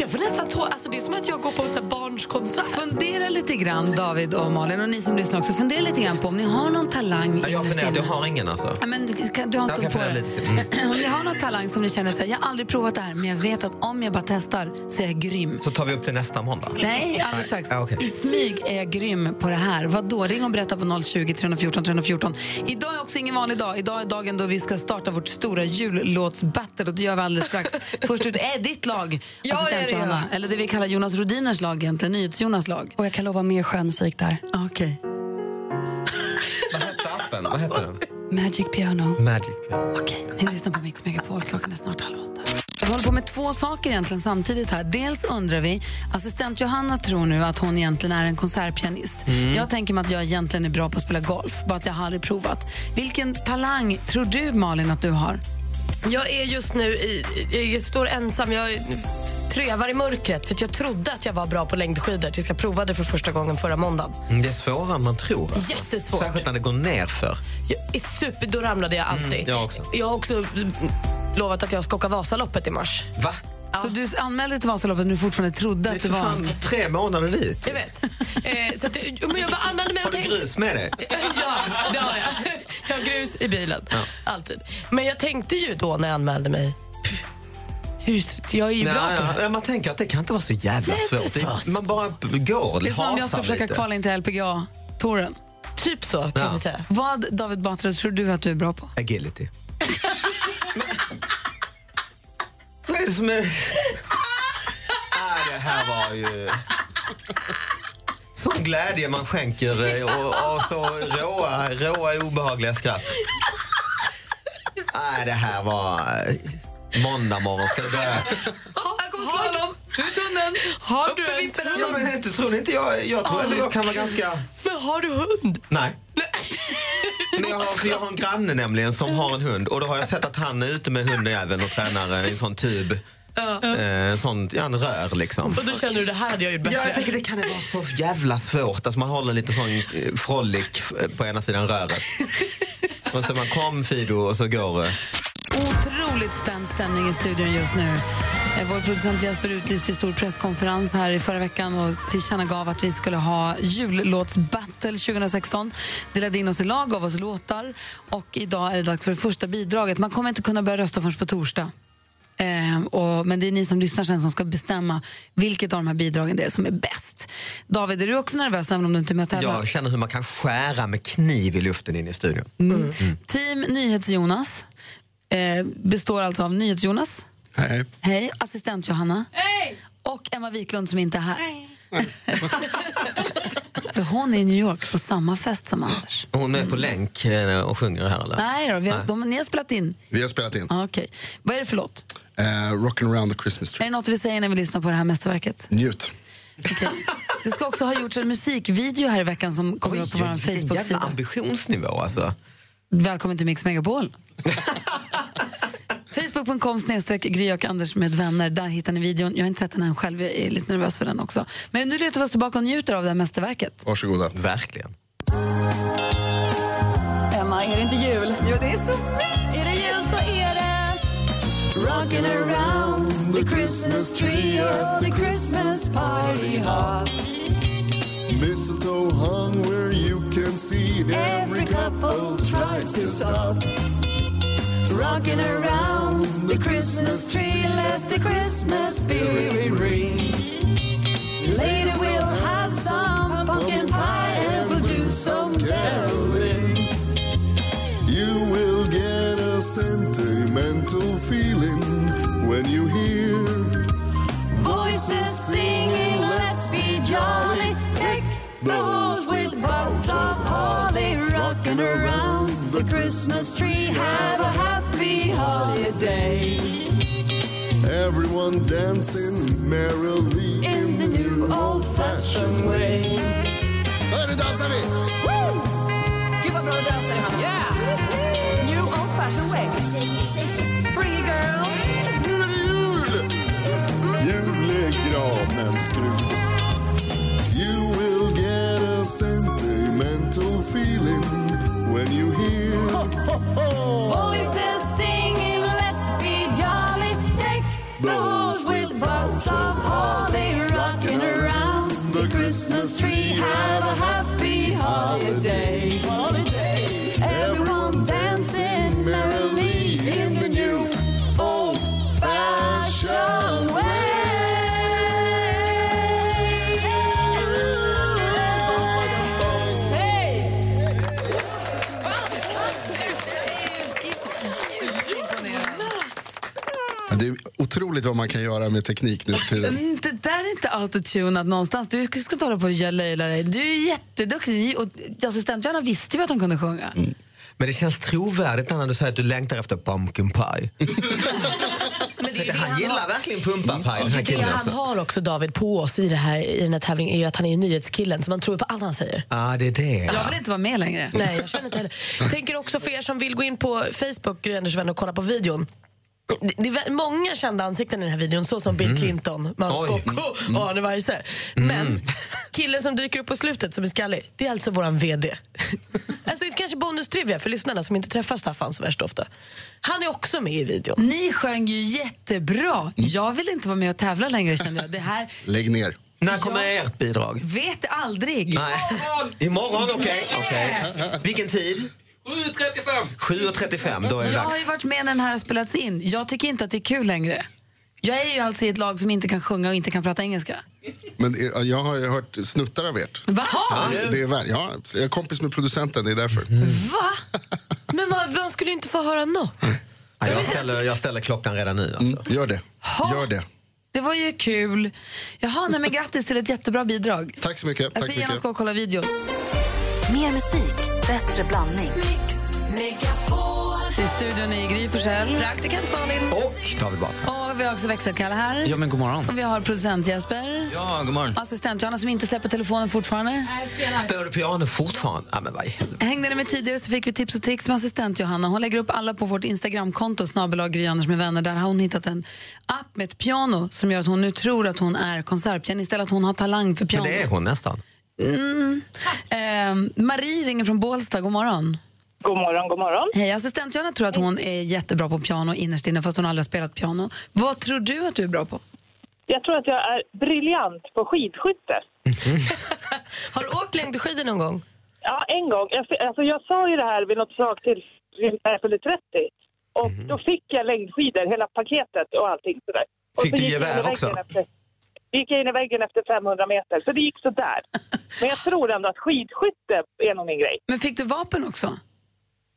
Speaker 4: Jag får nästan tå... Alltså, det är som att jag går på en så här barnskonsert.
Speaker 3: Fundera lite grann, David och Malin, och ni som lyssnar också. Fundera lite grann på om ni har någon talang
Speaker 13: Ja, Jag
Speaker 3: innerst
Speaker 13: funderar, jag
Speaker 3: inne.
Speaker 13: har ingen alltså.
Speaker 3: Ja, men du, kan- du har en stund på
Speaker 13: Jag kan fundera
Speaker 3: dig.
Speaker 13: lite till. Mm.
Speaker 3: Om ni har någon talang som ni känner så här, jag har aldrig provat det här, men jag vet att om jag bara testar så är jag grym.
Speaker 13: Så tar vi upp det nästa måndag.
Speaker 3: Nej, alldeles strax.
Speaker 13: Ja, okej.
Speaker 3: I smyg är jag grym på det här. Vad då? Ring och berätta på 020 314 314. Idag är också ingen vanlig dag. Idag är dagen då vi ska starta vårt stora jullåtsbattle och det gör vi alldeles strax. Först ut är ditt lag,
Speaker 14: Ja,
Speaker 3: assistent
Speaker 14: ja, ja, ja.
Speaker 3: Johanna. Eller det vi kallar Jonas Rodiners lag egentligen, NyhetsJonas lag.
Speaker 14: Och jag kan lova mer skön musik där.
Speaker 3: Okej.
Speaker 13: Appen, vad heter den?
Speaker 14: Magic piano.
Speaker 13: Magic Piano.
Speaker 3: Okej, ni lyssnar på Mix Megapol. Klockan är snart halv åtta. Vi håller på med två saker egentligen samtidigt här. Dels undrar vi, assistent Johanna tror nu att hon egentligen är en konsertpianist.
Speaker 14: Mm.
Speaker 3: Jag tänker mig att jag egentligen är bra på att spela golf, bara att jag har aldrig provat. Vilken talang tror du Malin att du har?
Speaker 4: Jag är just nu... I, i- jag står ensam. Jag trevar i mörkret. För att jag trodde att jag var bra på längdskidor tills jag provade för första gången förra måndagen.
Speaker 13: Mm, Det är svårare än man tror. alltså.
Speaker 4: Jättesvårt.
Speaker 13: Särskilt när det går ner för.
Speaker 4: Jag är super, då ramlade jag alltid.
Speaker 13: Mm, jag också.
Speaker 4: Jag har också mm, lovat att jag ska åka Vasaloppet i mars.
Speaker 13: Va?
Speaker 3: Så du anmälde till Vasaloppet när du fortfarande trodde att det
Speaker 13: För
Speaker 3: var...
Speaker 13: fan, tre månader dit.
Speaker 4: Jag vet. Eh, så att, jo, men jag bara anmälde mig
Speaker 13: Har
Speaker 4: och
Speaker 13: du
Speaker 4: tänkte...
Speaker 13: grus med dig?
Speaker 4: Ja, det har jag. Jag har grus i bilen. Alltid. Men jag tänkte ju då när jag anmälde mig... Hur, jag är ju bra
Speaker 13: Nej,
Speaker 4: på det här.
Speaker 13: ja, Man tänker att det kan inte vara så jävla
Speaker 4: Nej, det är
Speaker 13: svårt. Det-
Speaker 4: svårt.
Speaker 13: Man bara går
Speaker 3: Det är som om jag
Speaker 13: hasar
Speaker 3: skulle försöka
Speaker 13: lite.
Speaker 3: kvala in till LPGA-touren.
Speaker 4: Typ så
Speaker 13: kan Ja. vi säga.
Speaker 3: Vad, David Batra, tror du att du är bra på?
Speaker 13: Agility. Vad är det som är... Nej, det här var ju... Som glädje man skänker eh, och, och så råa, råa obehagliga skratt. Nej, det här var... eh, Måndag morgon ska det börja.
Speaker 3: Här kommer slalom! Ut tunneln!
Speaker 15: Har
Speaker 3: Upp till vippen!
Speaker 13: Ja, men inte, tror ni inte jag, jag tror ändå jag kan vara ganska...
Speaker 15: Men har du hund?
Speaker 13: Nej. Men jag, har, för jag har en granne nämligen som har en hund och då har jag sett att han är ute med hunden även och tränar i en sån tub.
Speaker 15: Ja.
Speaker 13: Eh, en sån, ja, en rör liksom.
Speaker 15: Och då känner du det här hade jag gjort bättre.
Speaker 13: Ja, jag tänker det kan det vara så jävla svårt. Alltså man håller lite sån eh, frolic eh, på ena sidan röret. Och så man kom Fido och så går det.
Speaker 3: Otroligt spänd stämning i studion just nu. Eh, Vår producent Jesper utlyste stor presskonferens här i förra veckan och tillkännagav att vi skulle ha jullåtsbattle 2016. Delade in oss i lag, gav oss låtar och idag är det dags för det första bidraget. Man kommer inte kunna börja rösta förrän på torsdag. Eh, och, men det är ni som lyssnar sen som ska bestämma vilket av de här bidragen det är som är bäst. David, är du också nervös även om du inte är med och tävlar?
Speaker 13: Jag känner hur man kan skära med kniv i luften in i studion.
Speaker 3: Mm. Team NyhetsJonas eh, består alltså av NyhetsJonas.
Speaker 6: Hej.
Speaker 3: Hej, assistent Johanna. Hej! Och Emma Wiklund som inte är här. För hon är i New York på samma fest som Anders.
Speaker 13: Hon är på länk eh, och sjunger här eller?
Speaker 3: Nej då, vi har,
Speaker 13: Nej.
Speaker 3: de, ni har spelat in.
Speaker 6: Vi har spelat in.
Speaker 3: Ah, Okej. Vad är det för låt?
Speaker 6: Eh, Rockin' around the Christmas tree.
Speaker 3: Är det något vi säger när vi lyssnar på det här mästerverket?
Speaker 6: Njut.
Speaker 3: Det ska också ha gjorts en musikvideo här i veckan som kommer upp på vår
Speaker 13: Jävla
Speaker 3: Facebook-sida.
Speaker 13: ambitionsnivå alltså.
Speaker 3: Välkommen till Mix Megapol. Facebook.com snedstreck Gry och Anders med vänner. Där hittar ni videon. Jag har inte sett den än själv. Jag är lite nervös för den också. Men nu lutar vi oss tillbaka och njuter av det här mästerverket.
Speaker 6: Varsågoda.
Speaker 13: Verkligen.
Speaker 1: Emma, är det inte jul? Jo, det är så mysigt! Är det jul så är det... Rockin' around the Christmas tree at the Christmas party hop
Speaker 16: Mistletoe hung where you can see every couple tries to stop.
Speaker 1: Rockin' around the Christmas tree Let the Christmas spirit ring Later we'll have some pumpkin pie And we'll do some
Speaker 16: Caroling, you will get a sentimental feeling when you hear
Speaker 1: voices singing Let's be jolly Take the halls with rocks of holly Rockin' around the Christmas tree Have a happy holiday
Speaker 16: everyone dancing merrily in the new old-fashioned way. Hör, nu dansar vi!
Speaker 1: Gud vad bra du dansar Johanna. Yeah. New old fashioned way. Bring it girl.
Speaker 16: Nu är det jul! Julegranen skruv You will get a sentimental feeling when you hear
Speaker 1: Voices singing, let's be jolly. Take the halls with box of holly. Rocking around the Christmas tree. Have a happy holiday. Holiday. Everyone's dancing merrily in the new old fashioned way. Hey!
Speaker 6: Det är otroligt vad man kan göra med teknik nu för tiden.
Speaker 3: Mm, Det där är inte autotunat någonstans. Du ska inte hålla på och gö- löjla dig. Du är jätteduktig. Och assistent-Johanna visste ju att hon kunde sjunga.
Speaker 16: Mm.
Speaker 13: Men det känns trovärdigt när du säger att du längtar efter pumpkin pie. han gillar verkligen pumpapaj den här
Speaker 15: Mm. Det
Speaker 13: killen
Speaker 15: han
Speaker 13: alltså.
Speaker 15: har också David på oss i, det här, i den här tävlingen är ju att han är ju nyhetskillen så man tror på allt han säger.
Speaker 13: Ja, det är det.
Speaker 15: Ja.
Speaker 3: Jag vill inte vara med längre.
Speaker 15: Nej, jag känner inte heller. Jag tänker också för er som vill gå in på Facebook, Gry Anders vän, och kolla på videon. Det- Det är vä- många kända ansikten i den här videon, så som Bill
Speaker 4: Mm.
Speaker 15: Clinton, Magnus
Speaker 4: Oj.
Speaker 15: Kocko
Speaker 17: Mm.
Speaker 15: och Arne Weise. Men killen som dyker upp på slutet som är skallig, det är alltså våran VD. Alltså det är kanske bonustrivia för lyssnarna som inte träffar Staffan så värst ofta. Han är också med i videon.
Speaker 3: Ni sjöng ju jättebra. Jag vill inte vara med och tävla längre kände jag. Det här
Speaker 6: Lägg ner.
Speaker 13: När kommer ert bidrag?
Speaker 3: vet jag aldrig.
Speaker 13: Nej. Imorgon, okej. okej. Vilken tid?
Speaker 18: 7.35.
Speaker 13: 7.35, då är det
Speaker 3: Jag har ju
Speaker 13: dags.
Speaker 3: varit med när den här har spelats in. Jag tycker inte att det är kul längre. Jag är ju alltså i ett lag som inte kan sjunga och inte kan prata engelska.
Speaker 6: Men eh, jag har ju hört snuttar av ert.
Speaker 3: Va?
Speaker 6: Ja, det är, vä- ja, jag är kompis med producenten, det är därför.
Speaker 3: Mm.
Speaker 15: Va? Men man, man skulle ju inte få höra något. Mm.
Speaker 13: Ja, jag, ställer, jag ställer klockan redan nu. Alltså.
Speaker 6: Mm. Gör det. Gör det.
Speaker 3: Det var ju kul. Jaha, nej, men grattis till ett jättebra bidrag.
Speaker 6: Tack så mycket.
Speaker 3: Jag
Speaker 6: tack
Speaker 3: ska
Speaker 6: så
Speaker 3: genast
Speaker 6: mycket.
Speaker 3: gå och kolla videon.
Speaker 10: Mer musik, bättre blandning.
Speaker 3: I studion är Gry Forssell, praktikant Malin.
Speaker 13: Och David Batra.
Speaker 3: Och vi har också växelkalle här.
Speaker 13: Ja, men god morgon.
Speaker 3: Och vi har producent Jesper.
Speaker 5: Ja, god morgon.
Speaker 3: Assistent Johanna som inte släpper telefonen fortfarande.
Speaker 13: Spelar du piano fortfarande? Ja, men vad i helvete.
Speaker 3: Hängde ni med tidigare så fick vi tips och tricks med assistent Johanna. Hon lägger upp alla på vårt Instagramkonto, snabel-a Gry Anders med vänner. Där har hon hittat en app med ett piano som gör att hon nu tror att hon är konsertpianist eller att hon har talang för
Speaker 13: Men
Speaker 3: piano.
Speaker 13: det är hon nästan.
Speaker 3: Mm. Eh, Marie ringer från Bålsta. God morgon.
Speaker 18: God morgon, god morgon.
Speaker 3: Hej, assistent Johanna tror att hon är jättebra på piano innerst inne fast hon aldrig har spelat piano. Vad tror du att du är bra på?
Speaker 18: Jag tror att jag är briljant på skidskytte.
Speaker 4: Har du åkt längdskidor någon gång?
Speaker 18: Ja, en gång. Jag, fi- alltså, jag sa ju det här vid något slag till när jag fyllde 30. Och
Speaker 13: Mhm.
Speaker 18: då fick jag längdskidor, hela paketet och allting sådär. Och
Speaker 13: Fick
Speaker 18: så
Speaker 13: du
Speaker 18: gick jag
Speaker 13: gevär
Speaker 18: in i väggen
Speaker 13: också?
Speaker 18: Efter, gick jag in i väggen efter 500 meter, så det gick sådär. Men jag tror ändå att skidskytte är nog min grej.
Speaker 3: Men fick du vapen också?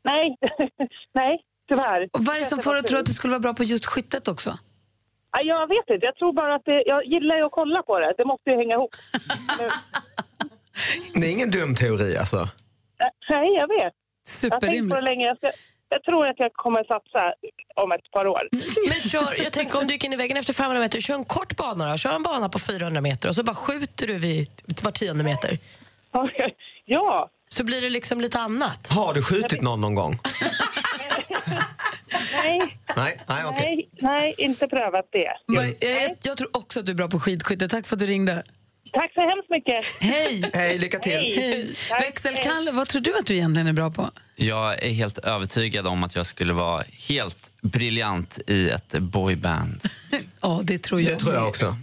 Speaker 18: Nej, nej, tyvärr.
Speaker 3: Och vad är det som får dig att tro att du skulle vara bra på just skyttet också?
Speaker 18: Ja, jag vet inte. Jag tror bara att det, jag gillar ju att kolla på det. Det måste ju hänga ihop. Men-
Speaker 13: Det är ingen dum teori alltså.
Speaker 18: Nej, jag vet. Jag har tänkt på
Speaker 3: Superrimligt.
Speaker 18: det länge. Jag, ska, jag tror att jag kommer satsa om ett par år.
Speaker 4: Men kör, jag tänker om du gick in i väggen efter 500 meter, kör en kort bana då. Kör en bana på 400 meter och så bara skjuter du vid var tionde meter.
Speaker 18: Ja.
Speaker 4: Så blir det liksom lite annat.
Speaker 13: Har du skjutit någon någon gång?
Speaker 18: Nej,
Speaker 13: Nej, nej okej.
Speaker 18: nej, nej, inte prövat det.
Speaker 3: Men Jag, jag tror också att du är bra på skidskytte. Tack för att du ringde.
Speaker 18: Tack så hemskt mycket.
Speaker 3: Hej!
Speaker 13: Hej, lycka till.
Speaker 3: Hej. Växelkalle, vad tror du att du egentligen är bra på?
Speaker 17: Jag är helt övertygad om att jag skulle vara helt briljant i ett boyband.
Speaker 3: Ja, det tror jag.
Speaker 13: också.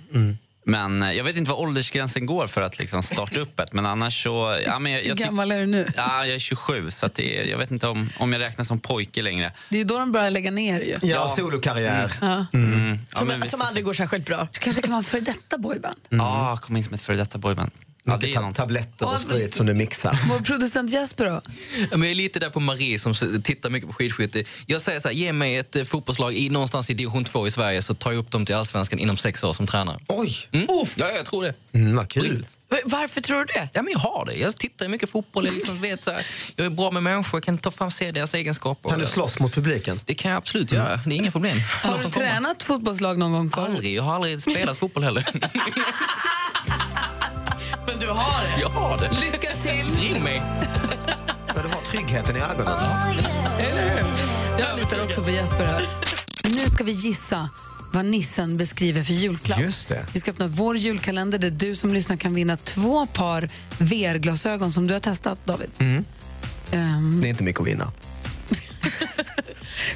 Speaker 17: Men eh, jag vet inte vad åldersgränsen går för att liksom starta upp ett. Men annars så... Ja, men jag,
Speaker 3: Hur
Speaker 17: jag, tyck-
Speaker 3: gammal är du nu?
Speaker 17: ja, jag är 27, så att det, är- jag vet inte om, om jag räknas som pojke längre.
Speaker 3: Det är ju då de börjar lägga ner ju.
Speaker 13: solokarriär.
Speaker 3: Ja.
Speaker 17: Mm. Ja,
Speaker 4: Som,
Speaker 17: men vi
Speaker 4: som
Speaker 17: får se.
Speaker 4: aldrig går särskilt bra.
Speaker 3: Du kanske kan vara en före detta boyband.
Speaker 17: Ja, kom in som ett före detta boyband. Ja, det är någon...
Speaker 13: tabletter
Speaker 3: och sprit
Speaker 13: som du mixar.
Speaker 17: Mm.
Speaker 3: Vår producent Jesper då?
Speaker 5: Ja, men jag är lite där på Marie som s- tittar mycket på skidskytte. Jag säger så här, ge mig ett eh, fotbollslag i, någonstans i division 2 i Sverige så tar jag upp dem till allsvenskan inom sex år som tränare.
Speaker 13: Oj!
Speaker 5: Mm. Ja, jag tror det.
Speaker 13: Mm, vad kul.
Speaker 4: Varför tror du det?
Speaker 5: Ja, men jag har det. Jag tittar mycket fotboll. Jag, liksom vet, så här, jag är bra med människor, jag kan ta fram se deras egenskaper.
Speaker 13: Kan du slåss mot publiken?
Speaker 5: Det kan jag absolut göra. Det är inga problem.
Speaker 3: Har du tränat fotbollslag någon gång förut?
Speaker 5: Aldrig. Jag har aldrig spelat fotboll heller.
Speaker 4: Men du har det?
Speaker 5: Jag har det.
Speaker 4: Lycka till!
Speaker 5: Ring mig.
Speaker 13: Där du har tryggheten i ögonen.
Speaker 3: Jag litar också på Jesper här. Nu ska vi gissa vad nissen beskriver för julklapp.
Speaker 13: Just det.
Speaker 3: Vi ska öppna vår julkalender där du som lyssnar kan vinna två par VR-glasögon som du har testat, David.
Speaker 13: Mm.
Speaker 3: Ehm,
Speaker 13: Det är inte mycket att vinna.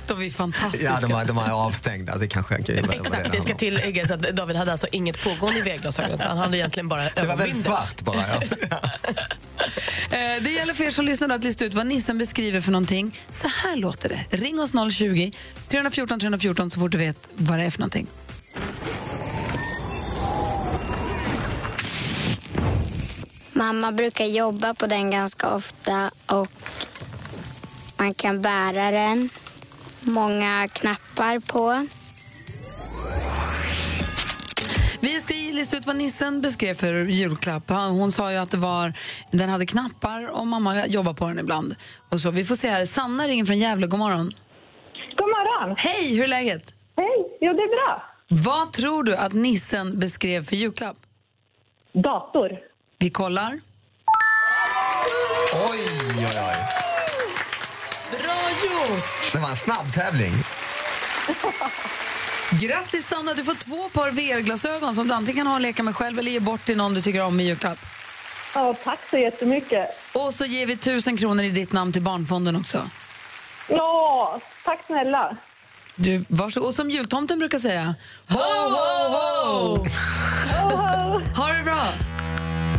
Speaker 3: de är fantastiska.
Speaker 13: Ja, de, var, de var avstängda. Det kanske jag kan det var
Speaker 4: Exakt,
Speaker 13: det
Speaker 4: det ska
Speaker 13: handlade om.
Speaker 4: tilläggas att David hade alltså inget pågående i vägglasögon så han hade egentligen bara
Speaker 13: Det var väldigt
Speaker 4: ögonbindel.
Speaker 13: svart bara. Ja.
Speaker 3: Eh, Det gäller för er som lyssnar då att lista ut vad nissen beskriver för någonting. Så här låter det. Ring oss 020-314 314 så fort du vet vad det är för någonting.
Speaker 19: Mamma brukar jobba på den ganska ofta och man kan bära den. Många knappar på.
Speaker 3: Vi ska ju lista ut vad nissen beskrev för julklapp. Han- Hon sa ju att det var, den hade knappar och mamma jobbar på den ibland. Och så, vi får se här. Sanna ringer från Gävle. God morgon.
Speaker 20: God morgon.
Speaker 3: Hej, hur är läget?
Speaker 20: Hej, jo det är bra.
Speaker 3: Vad tror du att nissen beskrev för julklapp?
Speaker 20: Dator.
Speaker 3: Vi kollar.
Speaker 13: Oj, oj, oj.
Speaker 4: Bra gjort!
Speaker 13: Det var en snabb tävling.
Speaker 3: Grattis Sanna, du får två par VR-glasögon som du antingen kan ha och leka med själv eller ge bort till någon du tycker om i julklapp.
Speaker 20: Ja, tack så jättemycket.
Speaker 3: Och så ger vi tusen kronor i ditt namn till Barnfonden också.
Speaker 20: Ja, tack snälla.
Speaker 3: Du, varsågod. Och som jultomten brukar säga, ho, ho, ho! ha det bra!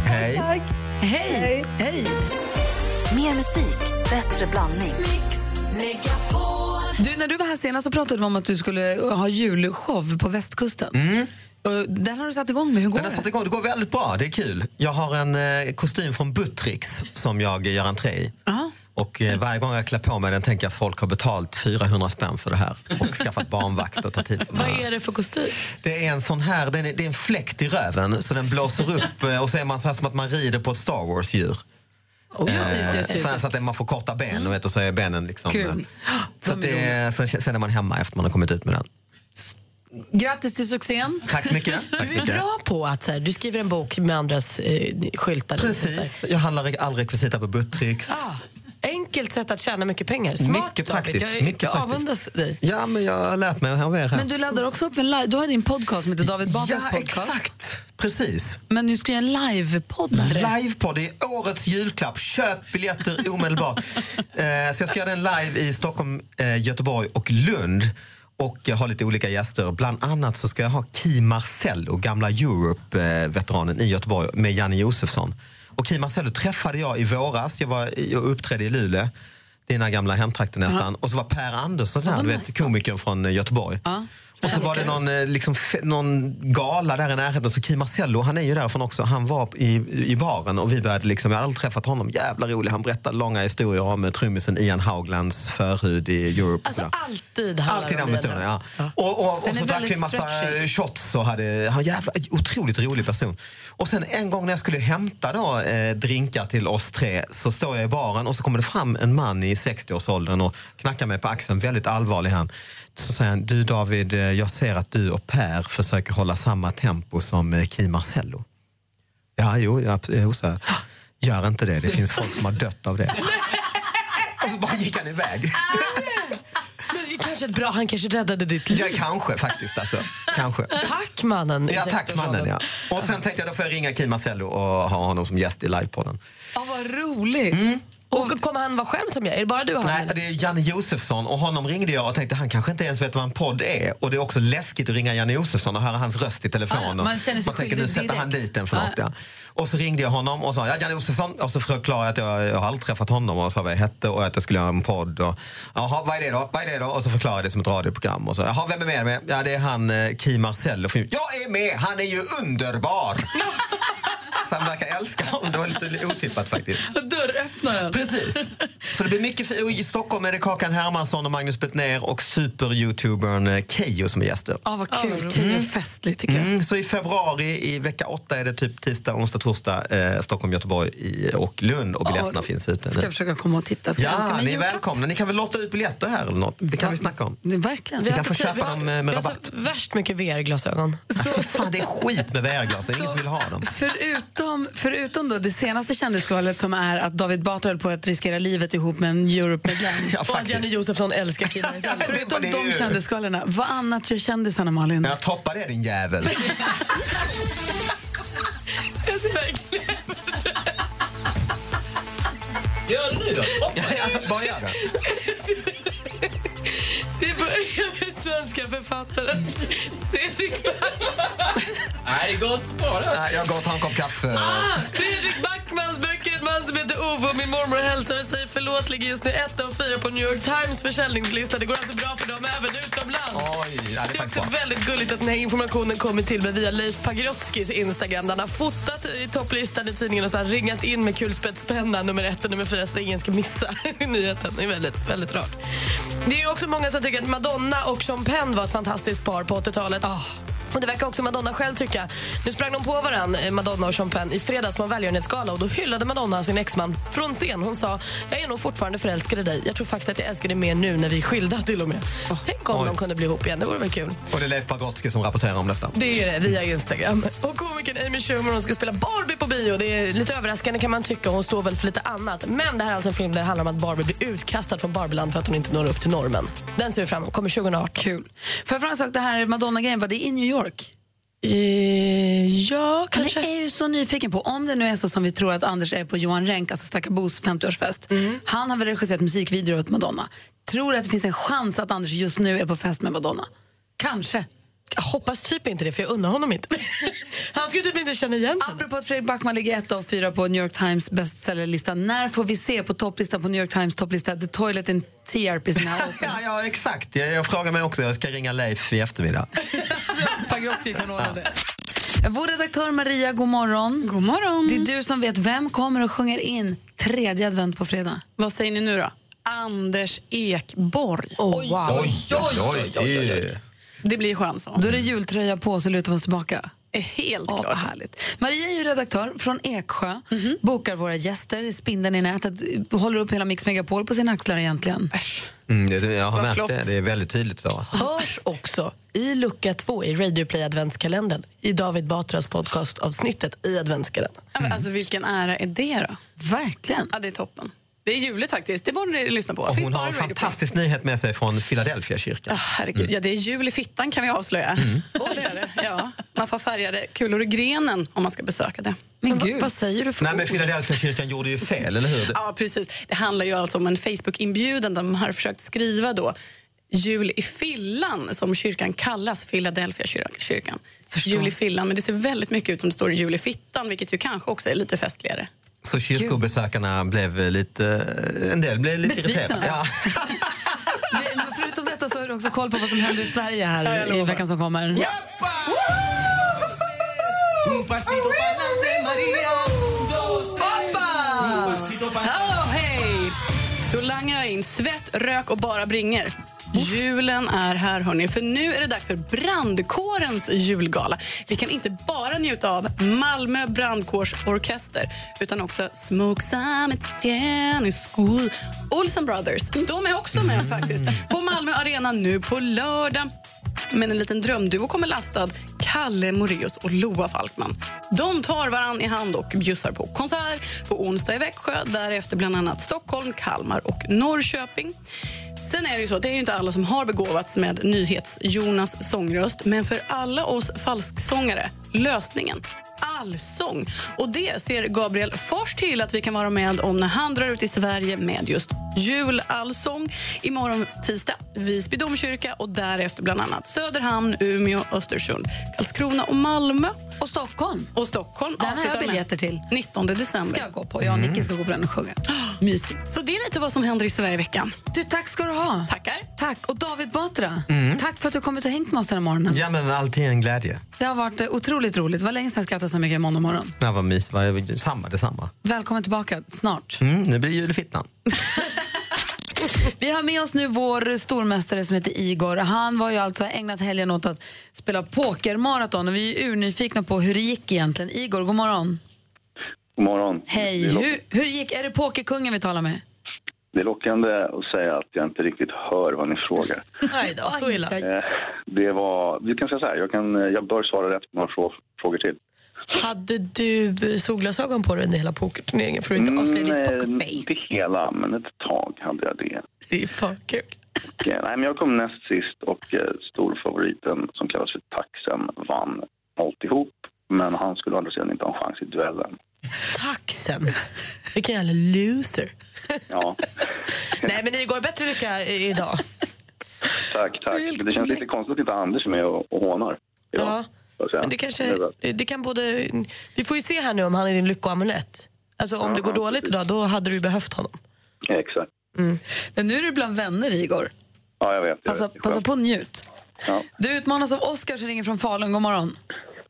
Speaker 13: Hej.
Speaker 10: Tack.
Speaker 3: Hej! Hej!
Speaker 10: Mer musik, bättre blandning.
Speaker 3: Du, när du var här senast så pratade vi om att du skulle uh, ha julshow på västkusten. Och Den har du satt igång med. Hur går
Speaker 13: Mm. Den har satt
Speaker 3: det?
Speaker 13: igång. Det går väldigt bra. Det är kul. Jag har en eh, kostym från Buttricks som jag gör entré i. Och eh, varje gång jag klär på mig den tänker jag att folk har betalt 400 spänn för det här och skaffat barnvakt och tagit hit såna
Speaker 4: Vad
Speaker 13: här.
Speaker 4: är det för kostym?
Speaker 13: Det är en sån här, den är, det är en fläkt i röven så den blåser upp eh, och så är man så här som att man rider på ett Star Wars-djur.
Speaker 3: Oh, just, just, just, just.
Speaker 13: Eh, Så att man får korta ben
Speaker 1: Mm.
Speaker 13: och, vet, och så är benen liksom...
Speaker 3: Kul.
Speaker 13: eh, Så att det, sen, sen är man hemma efter man har kommit ut med den.
Speaker 1: Grattis till succén.
Speaker 13: Tack så mycket. Tack så
Speaker 4: Du är
Speaker 13: mycket.
Speaker 4: bra på att så här, du skriver en bok med andras eh, skyltar.
Speaker 13: Precis. Jag handlar all rekvisita på Buttricks.
Speaker 1: Ah.
Speaker 4: Ah, Enkelt sätt att tjäna mycket pengar. Smart
Speaker 13: Mycket
Speaker 4: David.
Speaker 13: praktiskt,
Speaker 4: Jag,
Speaker 13: mycket
Speaker 4: jag
Speaker 13: praktiskt.
Speaker 4: avundas dig.
Speaker 13: Ja, men jag har lärt mig av er här.
Speaker 1: Men du laddar också upp en live... Du har din podcast som heter David Batras
Speaker 13: Ja,
Speaker 1: podcast.
Speaker 13: exakt. Precis.
Speaker 1: Men nu ska jag göra en livepodd.
Speaker 13: Livepodd, det är årets julklapp. Köp biljetter omedelbart. eh, så jag ska göra den live i Stockholm, eh, Göteborg och Lund. Och jag har lite olika gäster. Bland annat så ska jag ha Ki Marcello, gamla Europe-veteranen i Göteborg med Janne Josefsson. Och Ki Marcello träffade jag i våras. Jag, var, jag uppträdde i Luleå, dina gamla hemtrakter nästan. Och så var Per Andersson här, du vet, komikern från eh, Göteborg. Och så var det någon, eh, liksom, fe- någon gala där i närheten. Så Kim Marcello, han är ju därifrån också. Han var i, i baren och vi började liksom, jag hade aldrig träffat honom. Jävla rolig. Han berättade långa historier om eh, trummisen Ian Hauglands förhud i Europe. och sådär.
Speaker 4: Alltså, Alltid handlar
Speaker 13: Alltid
Speaker 4: om
Speaker 13: den med
Speaker 4: bilen.
Speaker 13: stunden, ja. Och, och,
Speaker 4: Den
Speaker 13: och så
Speaker 4: är
Speaker 13: drack
Speaker 4: väldigt
Speaker 13: vi en massa
Speaker 4: stretchy.
Speaker 13: eh, shots och hade, han jävla, otroligt rolig person. Och sen en gång när jag skulle hämta då, eh, drinkar till oss tre så står jag i baren och så kommer det fram en man i 60-årsåldern och knackar mig på axeln, väldigt allvarlig han. Så säger han, du David, eh, jag ser att du och Per försöker hålla samma tempo som eh, Kim Marcello. Ja, jo, ja, jo så här. Gör inte det, det finns folk som har dött av det. Och så bara gick han iväg.
Speaker 4: Men det är kanske ett bra, han kanske räddade ditt liv.
Speaker 13: Ja, kanske faktiskt alltså. Kanske.
Speaker 4: Tack mannen. i
Speaker 13: Ja, tack
Speaker 4: 60-årsåldern.
Speaker 13: mannen. Ja. Och sen tänkte jag då får jag ringa Kim Marcello och ha honom som gäst i livepodden.
Speaker 4: Ja, vad roligt. Och kommer han vara själv som jag? Är det bara du och han?
Speaker 13: Nej, det är Janne Josefsson och honom ringde jag och tänkte han kanske inte ens vet vad en podd är. Och det är också läskigt att ringa Janne Josefsson och höra hans röst i telefon.
Speaker 1: Ah, ja,
Speaker 13: Och
Speaker 1: man känner sig
Speaker 13: man tänker nu
Speaker 1: skyldig
Speaker 13: sätter han
Speaker 1: direkt.
Speaker 13: dit den för
Speaker 1: Ah,
Speaker 13: något. Ja. Och så ringde jag honom och sa ja, Janne Josefsson och så förklarade jag att jag, jag har aldrig träffat honom och sa vad jag hette och att jag skulle göra en podd. Och, Jaha, vad är det då? Vad är det då? Och så förklarade jag det som ett radioprogram. Och så, Jaha, vem är med? med? Ja, det är han eh, Kim Marcello. Jag är med! Han är ju underbar! Så han verkar älska honom. Det var lite otippat faktiskt.
Speaker 1: Dörröppnaren.
Speaker 13: Precis. Så det blir mycket fi- och I Stockholm är det Kakan Hermansson och Magnus Bettner och super-youtubern eh, Keyyo som är gäster.
Speaker 1: Ja, vad kul.
Speaker 13: roligt.
Speaker 1: Keyyo är festligt tycker jag.
Speaker 13: Mm, så i februari, i vecka åtta, är det typ tisdag, onsdag, torsdag eh, Stockholm, Göteborg i, och Lund och biljetterna finns ute nu.
Speaker 3: Ska jag försöka komma och titta? Ska jag önska mig
Speaker 13: Ja,
Speaker 3: en
Speaker 13: ni är
Speaker 3: julklapp?
Speaker 13: välkomna. Ni kan väl låta ut biljetter här eller något? Det kan vi snacka om.
Speaker 3: Nej, Verkligen.
Speaker 13: Vi kan få köpa dem eh, med
Speaker 4: vi har
Speaker 13: rabatt.
Speaker 4: så värst mycket VR-glasögon.
Speaker 13: Så... Fan, det är skit med VR-glas.
Speaker 3: Alltså.
Speaker 13: Det är ingen som vill ha dem.
Speaker 3: Förutom, förutom då det senaste kändisskvallret som är att David Batra höll på att riskera livet ihop med en Europe-medlem.
Speaker 4: och att Janne Josefsson älskar killar i Sverige.
Speaker 3: Förutom
Speaker 13: det är
Speaker 3: de
Speaker 13: ju-
Speaker 3: kändisskvallerna, vad annat gör kändisarna Malin?
Speaker 13: Jag toppar det din jävel.
Speaker 4: Jag ser verkligen-
Speaker 13: Gör det nu då. Ja, ja, bara gör det.
Speaker 4: Vi börjar med svenska författaren Fredrik Backman.
Speaker 13: Nej, det går inte bara. Nej, jag går och tar en kopp kaffe.
Speaker 4: Ah, Fredrik Backmans böcker. En man som heter Ove och Min mormor hälsade sig förlåt ligger just nu etta och fyra på New York Times försäljningslista. Det går alltså bra för dem även utomlands.
Speaker 13: Oj, ja, det är
Speaker 4: Det är
Speaker 13: faktiskt
Speaker 4: också
Speaker 13: bra.
Speaker 4: väldigt gulligt att den här informationen kommer till mig via Leif Pagrotskys Instagram. där Han har fotat i topplistan i tidningen och så har han ringat in med kulspetspenna nummer ett och nummer fyra så att ingen ska missa nyheten. Det är väldigt, väldigt rart. Det är ju också många som tycker att Madonna och Sean Penn var ett fantastiskt par på 80-talet. Och Det verkar också Madonna själv tycka. Nu sprang de på varann, eh, Madonna och Sean Penn, i fredags på en välgörenhetsgala och då hyllade Madonna sin exman från scen. Hon sa jag är nog fortfarande förälskad i dig. Jag tror faktiskt att jag älskar dig mer nu när vi är skilda till och med. Tänk om
Speaker 13: Oj.
Speaker 4: de kunde bli ihop igen, det vore väl kul.
Speaker 13: Och det är Leif Pagrotsky som rapporterar om detta.
Speaker 4: Det är det, via Instagram. Och komikern Amy Schumer hon ska spela Barbie på bio. Det är lite överraskande kan man tycka. Hon står väl för lite annat. Men det här är alltså en film där det handlar om att Barbie blir utkastad från Barbieland för att hon inte når upp till normen. Den ser vi fram emot. Kommer 2018.
Speaker 3: Kul. Får jag fråga en sak, det här Madonna-grejen, var det i New York?
Speaker 4: Eh, ja,
Speaker 3: kanske. Jag är ju så nyfiken på, om det nu är så som vi tror att Anders är på Johan Renck, alltså Stakka Bos 50-årsfest.
Speaker 13: Mm.
Speaker 3: Han har väl regisserat musikvideor åt Madonna. Tror du att det finns en chans att Anders just nu är på fest med Madonna? Kanske.
Speaker 4: Jag hoppas typ inte det, för jag undrar honom inte. Han skulle typ inte känna igen sig.
Speaker 3: Apropå att Fredrik Backman ligger ett av fyra på New York Times bästsäljarlista. När får vi se på topplistan på New York Times topplista The Toilet in TRP is now open?
Speaker 13: Ja, ja, exakt. Jag, jag frågar mig också. Jag ska ringa Leif i eftermiddag.
Speaker 3: Pagrotsky kan ordna det. Vår redaktör Maria, god morgon.
Speaker 21: God morgon.
Speaker 3: Det är du som vet. Vem kommer och sjunger in tredje advent på fredag?
Speaker 21: Vad säger ni nu då? Anders Ekborg.
Speaker 3: Oh, wow. Oj, oj, oj, oj, oj.
Speaker 21: Det blir skönsång.
Speaker 3: Då är det jultröja på så lutar vi oss tillbaka.
Speaker 21: Eh, Helt
Speaker 3: Åh, vad
Speaker 21: klart. Mhm.
Speaker 3: härligt. Maria är ju redaktör från Eksjö, bokar våra gäster, spindeln i nätet, håller upp hela Mix Megapol på sina axlar egentligen.
Speaker 21: Eh.
Speaker 13: Mm, det, det- jag har
Speaker 3: Vad
Speaker 13: märkt
Speaker 3: flott.
Speaker 13: det. Det är väldigt tydligt. Så, alltså.
Speaker 4: Hörs också i lucka två i Radio Play adventskalendern i David Batras podcastavsnittet i adventskalendern.
Speaker 21: Ja, men Alltså, vilken ära är det då?
Speaker 3: Verkligen.
Speaker 21: Ja, det är toppen. Det är juligt faktiskt. Det borde ni lyssna på.
Speaker 13: Och
Speaker 21: Finns
Speaker 13: hon
Speaker 21: bara
Speaker 13: har en
Speaker 21: i Radio Play.
Speaker 13: fantastisk nyhet med sig från Philadelphia Mm. kyrkan.
Speaker 21: Herregud, ja, det är jul i fittan kan vi avslöja. Ja, det är det. Ja, man får färgade kulor i grenen om man ska besöka det.
Speaker 3: Men gud.
Speaker 21: vad säger du för
Speaker 13: Nej, men Philadelphia kyrkan gjorde ju fel, eller hur?
Speaker 21: Ja, precis. Det handlar ju alltså om en Facebook-inbjudan där de har försökt skriva då jul i fillan, som kyrkan kallas, Philadelphia kyr- kyrkan. Jul i fillan, men det ser väldigt mycket ut som det står jul i fittan, vilket ju kanske också är lite festligare.
Speaker 13: Så kyrkobesökarna blev lite... eh, En del blev lite
Speaker 3: Besvikna.
Speaker 13: irriterade. Ja.
Speaker 3: Vi- men Förutom detta så har du också koll på vad som händer i Sverige här i veckan som kommer.
Speaker 16: Un pasito pa'lante, María. Dos, tres.
Speaker 21: Hoppa!
Speaker 16: Un pasito
Speaker 21: Oh, hej! Då langar jag in svett, rök och bara bringer. Julen är här, hörni, för nu är det dags för brandkårens julgala. Vi kan inte bara njuta av Malmö brandkårsorkester utan också Smoke Some It's Jenny School. Olsen Brothers, de är också med faktiskt på Malmö Arena nu på lördag. Men en liten drömduo kommer lastad. Kalle Moreus och Loa Falkman. De tar varann i hand och bjussar på konsert på onsdag i Växjö. Därefter bland annat Stockholm, Kalmar och Norrköping. Sen är det ju så, det är ju inte alla som har begåvats med Nyhets-Jonas sångröst. Men för alla oss falsksångare, lösningen allsång. Och det ser Gabriel Fors till att vi kan vara med om när han drar ut i Sverige med just julallsång. Imorgon tisdag, Visby domkyrka och därefter bland annat Söderhamn, Umeå, Östersund, Karlskrona och Malmö.
Speaker 3: Och Stockholm.
Speaker 21: Och Stockholm.
Speaker 3: Den har jag
Speaker 21: avslutar med.
Speaker 3: biljetter till.
Speaker 21: 19 december.
Speaker 3: Ska jag gå på. Jag och Nicky ska gå på den och sjunga. Mysigt.
Speaker 21: Så det är lite vad som händer i Sverige i veckan.
Speaker 3: Du, tack ska du ha.
Speaker 21: Tackar.
Speaker 3: Tack. Och David Batra,
Speaker 13: Mm.
Speaker 3: tack för att du kommit och hängt med oss den här morgonen.
Speaker 13: ja, men alltid en glädje.
Speaker 3: Det har varit eh, otroligt roligt. Det var länge sedan jag skrattade så mycket i måndag morgon.
Speaker 13: Ja, vad mys, vad, samma, detsamma.
Speaker 3: Välkommen tillbaka snart.
Speaker 13: Mm, nu blir det julfittan.
Speaker 3: Vi har med oss nu vår stormästare som heter Igor. Han var ju alltså ägnat helgen åt att spela pokermaraton och vi är ju urnyfikna på hur det gick egentligen. Igor, god morgon.
Speaker 22: God morgon.
Speaker 3: Hej.
Speaker 22: Det är,
Speaker 3: Hur, hur gick? Är det pokerkungen vi talar med?
Speaker 22: det är lockande att säga att jag inte riktigt hör vad ni frågar.
Speaker 3: Nej då, så illa.
Speaker 22: Eh, Det var, vi kan säga så här, jag, kan, jag bör svara rätt på några frå, frågor till.
Speaker 4: Hade du eh, solglasögon på dig under hela pokerturneringen för att inte avslöja din
Speaker 22: Nej,
Speaker 4: pocket face?
Speaker 22: Mm, eh, inte hela, men ett tag hade jag det.
Speaker 4: Det är för kul.
Speaker 22: Och, eh, Nej, men jag kom näst sist och eh, storfavoriten som kallas för Taxen vann alltihop. Men han skulle å andra sidan inte ha en chans i duellen.
Speaker 4: Taxen. Vilken jävla loser.
Speaker 22: Ja,
Speaker 4: Nej, men Igor, bättre lycka i- idag.
Speaker 22: tack, tack. Men det känns lite konstigt att inte Anders är med och, och hånar.
Speaker 4: Ja.
Speaker 22: så att säga.
Speaker 4: Men det kanske, det kan både, vi får ju se här nu om han är din lyckoamulett. Alltså om det går dåligt idag, då hade du ju behövt honom.
Speaker 22: Ja, Exakt.
Speaker 3: Men nu är du bland vänner, Igor.
Speaker 22: Ja, jag vet. Jag
Speaker 3: Passa,
Speaker 22: vet. Det är
Speaker 3: passa
Speaker 22: skönt.
Speaker 3: på och njut.
Speaker 22: Ja.
Speaker 3: Du utmanas av Oskar som ringer från Falun. God morgon.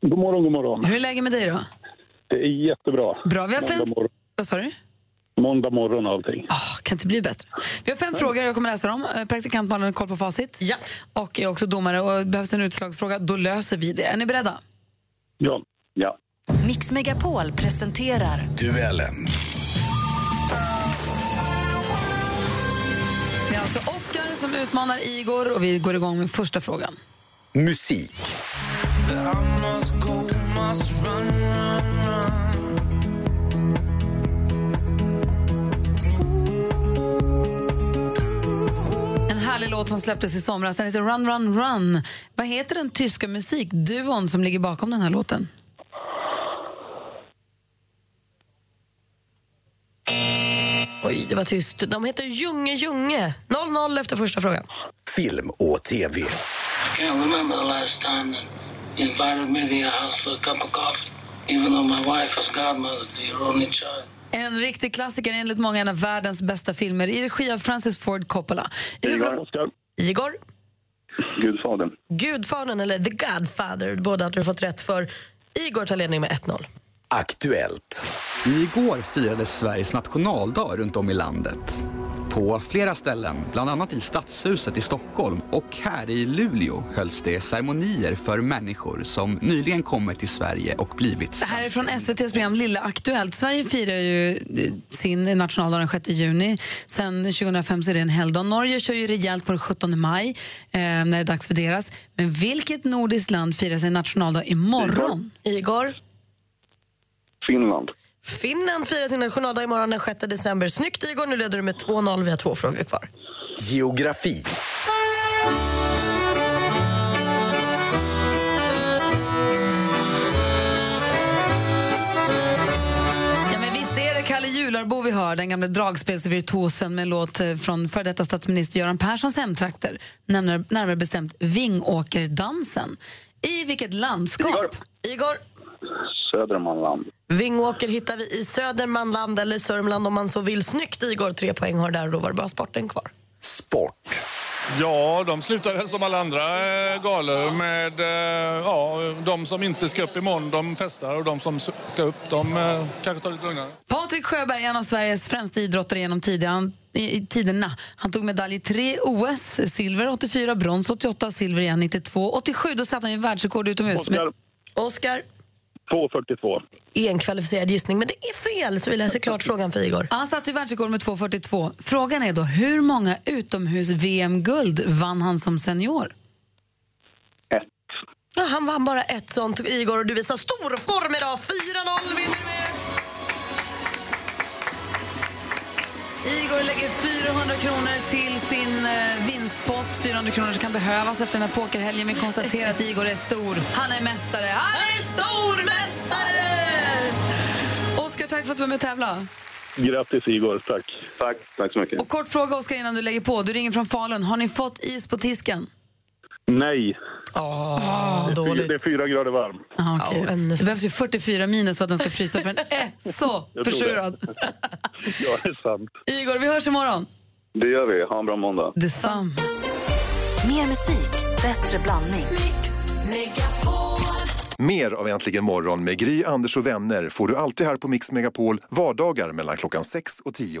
Speaker 23: God morgon, god morgon.
Speaker 3: Hur är läget med dig då?
Speaker 23: Det är jättebra.
Speaker 3: Bra, vi har fem...
Speaker 23: Måndag morgon,
Speaker 3: Vad sa du? Ah,
Speaker 23: måndag morgon och allting.
Speaker 3: Kan inte bli bättre. Vi har fem frågor, jag kommer läsa dem. Eh, Praktikant Malin har koll på facit. Ja. Och är också domare. Och behövs det en utslagsfråga, då löser vi det. Är ni beredda?
Speaker 23: Ja.
Speaker 22: Ja.
Speaker 10: Mix Megapol presenterar
Speaker 16: Duellen.
Speaker 3: Det är alltså Oskar som utmanar Igor och vi går igång med första frågan.
Speaker 16: Musik.
Speaker 3: En härlig låt som släpptes i somras. Den heter Run, run, run. Vad heter den tyska musikduon som ligger bakom den här låten?
Speaker 4: Oj, det var tyst. De heter Junge Junge. 0-0 efter första frågan.
Speaker 16: Film och tv.
Speaker 24: can't remember the last time that you invited me to your house for a cup of coffee, even though my wife was godmother to your only child.
Speaker 3: En riktig klassiker, enligt många en av världens bästa filmer i regi av Francis Ford Coppola.
Speaker 22: Igor.
Speaker 4: Igor,
Speaker 22: Gudfadern.
Speaker 4: Gudfadern eller The Godfather, båda hade du fått rätt för. Igor tar ledning med 1-0.
Speaker 15: Aktuellt. Igår firades Sveriges nationaldag runt om i landet. På flera ställen, bland annat i Stadshuset i Stockholm och här i Luleå hölls det ceremonier för människor som nyligen kommit till Sverige och blivit
Speaker 3: Det här är från SVTs program Lilla Aktuellt. Sverige firar ju eh, sin nationaldag den 6 juni. Sen 2005 så är det en helgdag. Norge kör ju rejält på den 17 maj eh, när det är dags för deras. Men vilket nordiskt land firar sin nationaldag imorgon?
Speaker 4: Igor?
Speaker 8: Finland.
Speaker 4: Finland firar sin nationaldag imorgon den 6 december. Snyggt Igor, nu leder du med 2-0. Vi har två frågor kvar.
Speaker 15: Geografi.
Speaker 3: Ja, men visst är det Kalle Jularbo vi hör, den gamle dragspelsvirtuosen med en låt eh, från före detta statsminister Göran Perssons hemtrakter, närmare, närmare bestämt Vingåkerdansen. I vilket landskap?
Speaker 4: Igor?
Speaker 22: Södermanland.
Speaker 4: Vingåker hittar vi i Södermanland eller Sörmland om man så vill. Snyggt Igor, tre poäng har där och då var det bara sporten kvar.
Speaker 15: Sport.
Speaker 25: Ja, de slutar väl som alla andra eh, galor med... eh, Ja, de som inte ska upp imorgon, de festar och de som ska upp, de eh, kanske tar det lite lugnare.
Speaker 3: Patrik Sjöberg, en av Sveriges främsta idrottare genom tiderna. Han, i, i tiderna. han tog medalj i tre OS, silver 84, brons 88 och silver igen 92. 87 då satte han ju världsrekord utomhus.
Speaker 8: Oscar.
Speaker 4: Oscar?
Speaker 8: 2.42.
Speaker 4: En kvalificerad gissning, men det är fel så vi läser klart frågan för Igor.
Speaker 3: Han satte ju världsrekord med 2.42. Frågan är då hur många utomhus-VM-guld vann han som senior?
Speaker 4: Ja, han vann bara ett sånt Igor och du visar stor form idag. 4-0 vinner du med.
Speaker 3: Igor lägger 400 kronor till sin eh, vinstpott. 400 kronor som kan behövas efter den här pokerhelgen. Vi konstaterar att Igor är stor. Han är mästare. Han är stormästare! Oskar, tack för att du var med och tävlade.
Speaker 8: Grattis Igor, tack. Tack, tack så mycket.
Speaker 3: Och kort fråga, Oskar, innan du lägger på. Du ringer från Falun. Har ni fått is på tisken?
Speaker 8: Nej.
Speaker 4: Oh,
Speaker 8: det, är fyra, det är fyra grader varmt.
Speaker 3: Ah, okay. Det behövs ju 44 minus för att den ska frysa, för den är så
Speaker 8: Jag tror det.
Speaker 3: försurad.
Speaker 8: Ja, det är sant.
Speaker 3: Igor, vi hörs imorgon.
Speaker 22: Det gör vi. Ha en bra måndag.
Speaker 3: Detsamma.
Speaker 1: Mer musik, bättre blandning.
Speaker 11: Mer av Äntligen morgon med Gry, Anders och vänner får du alltid här på Mix Megapol vardagar mellan klockan 6 och 10.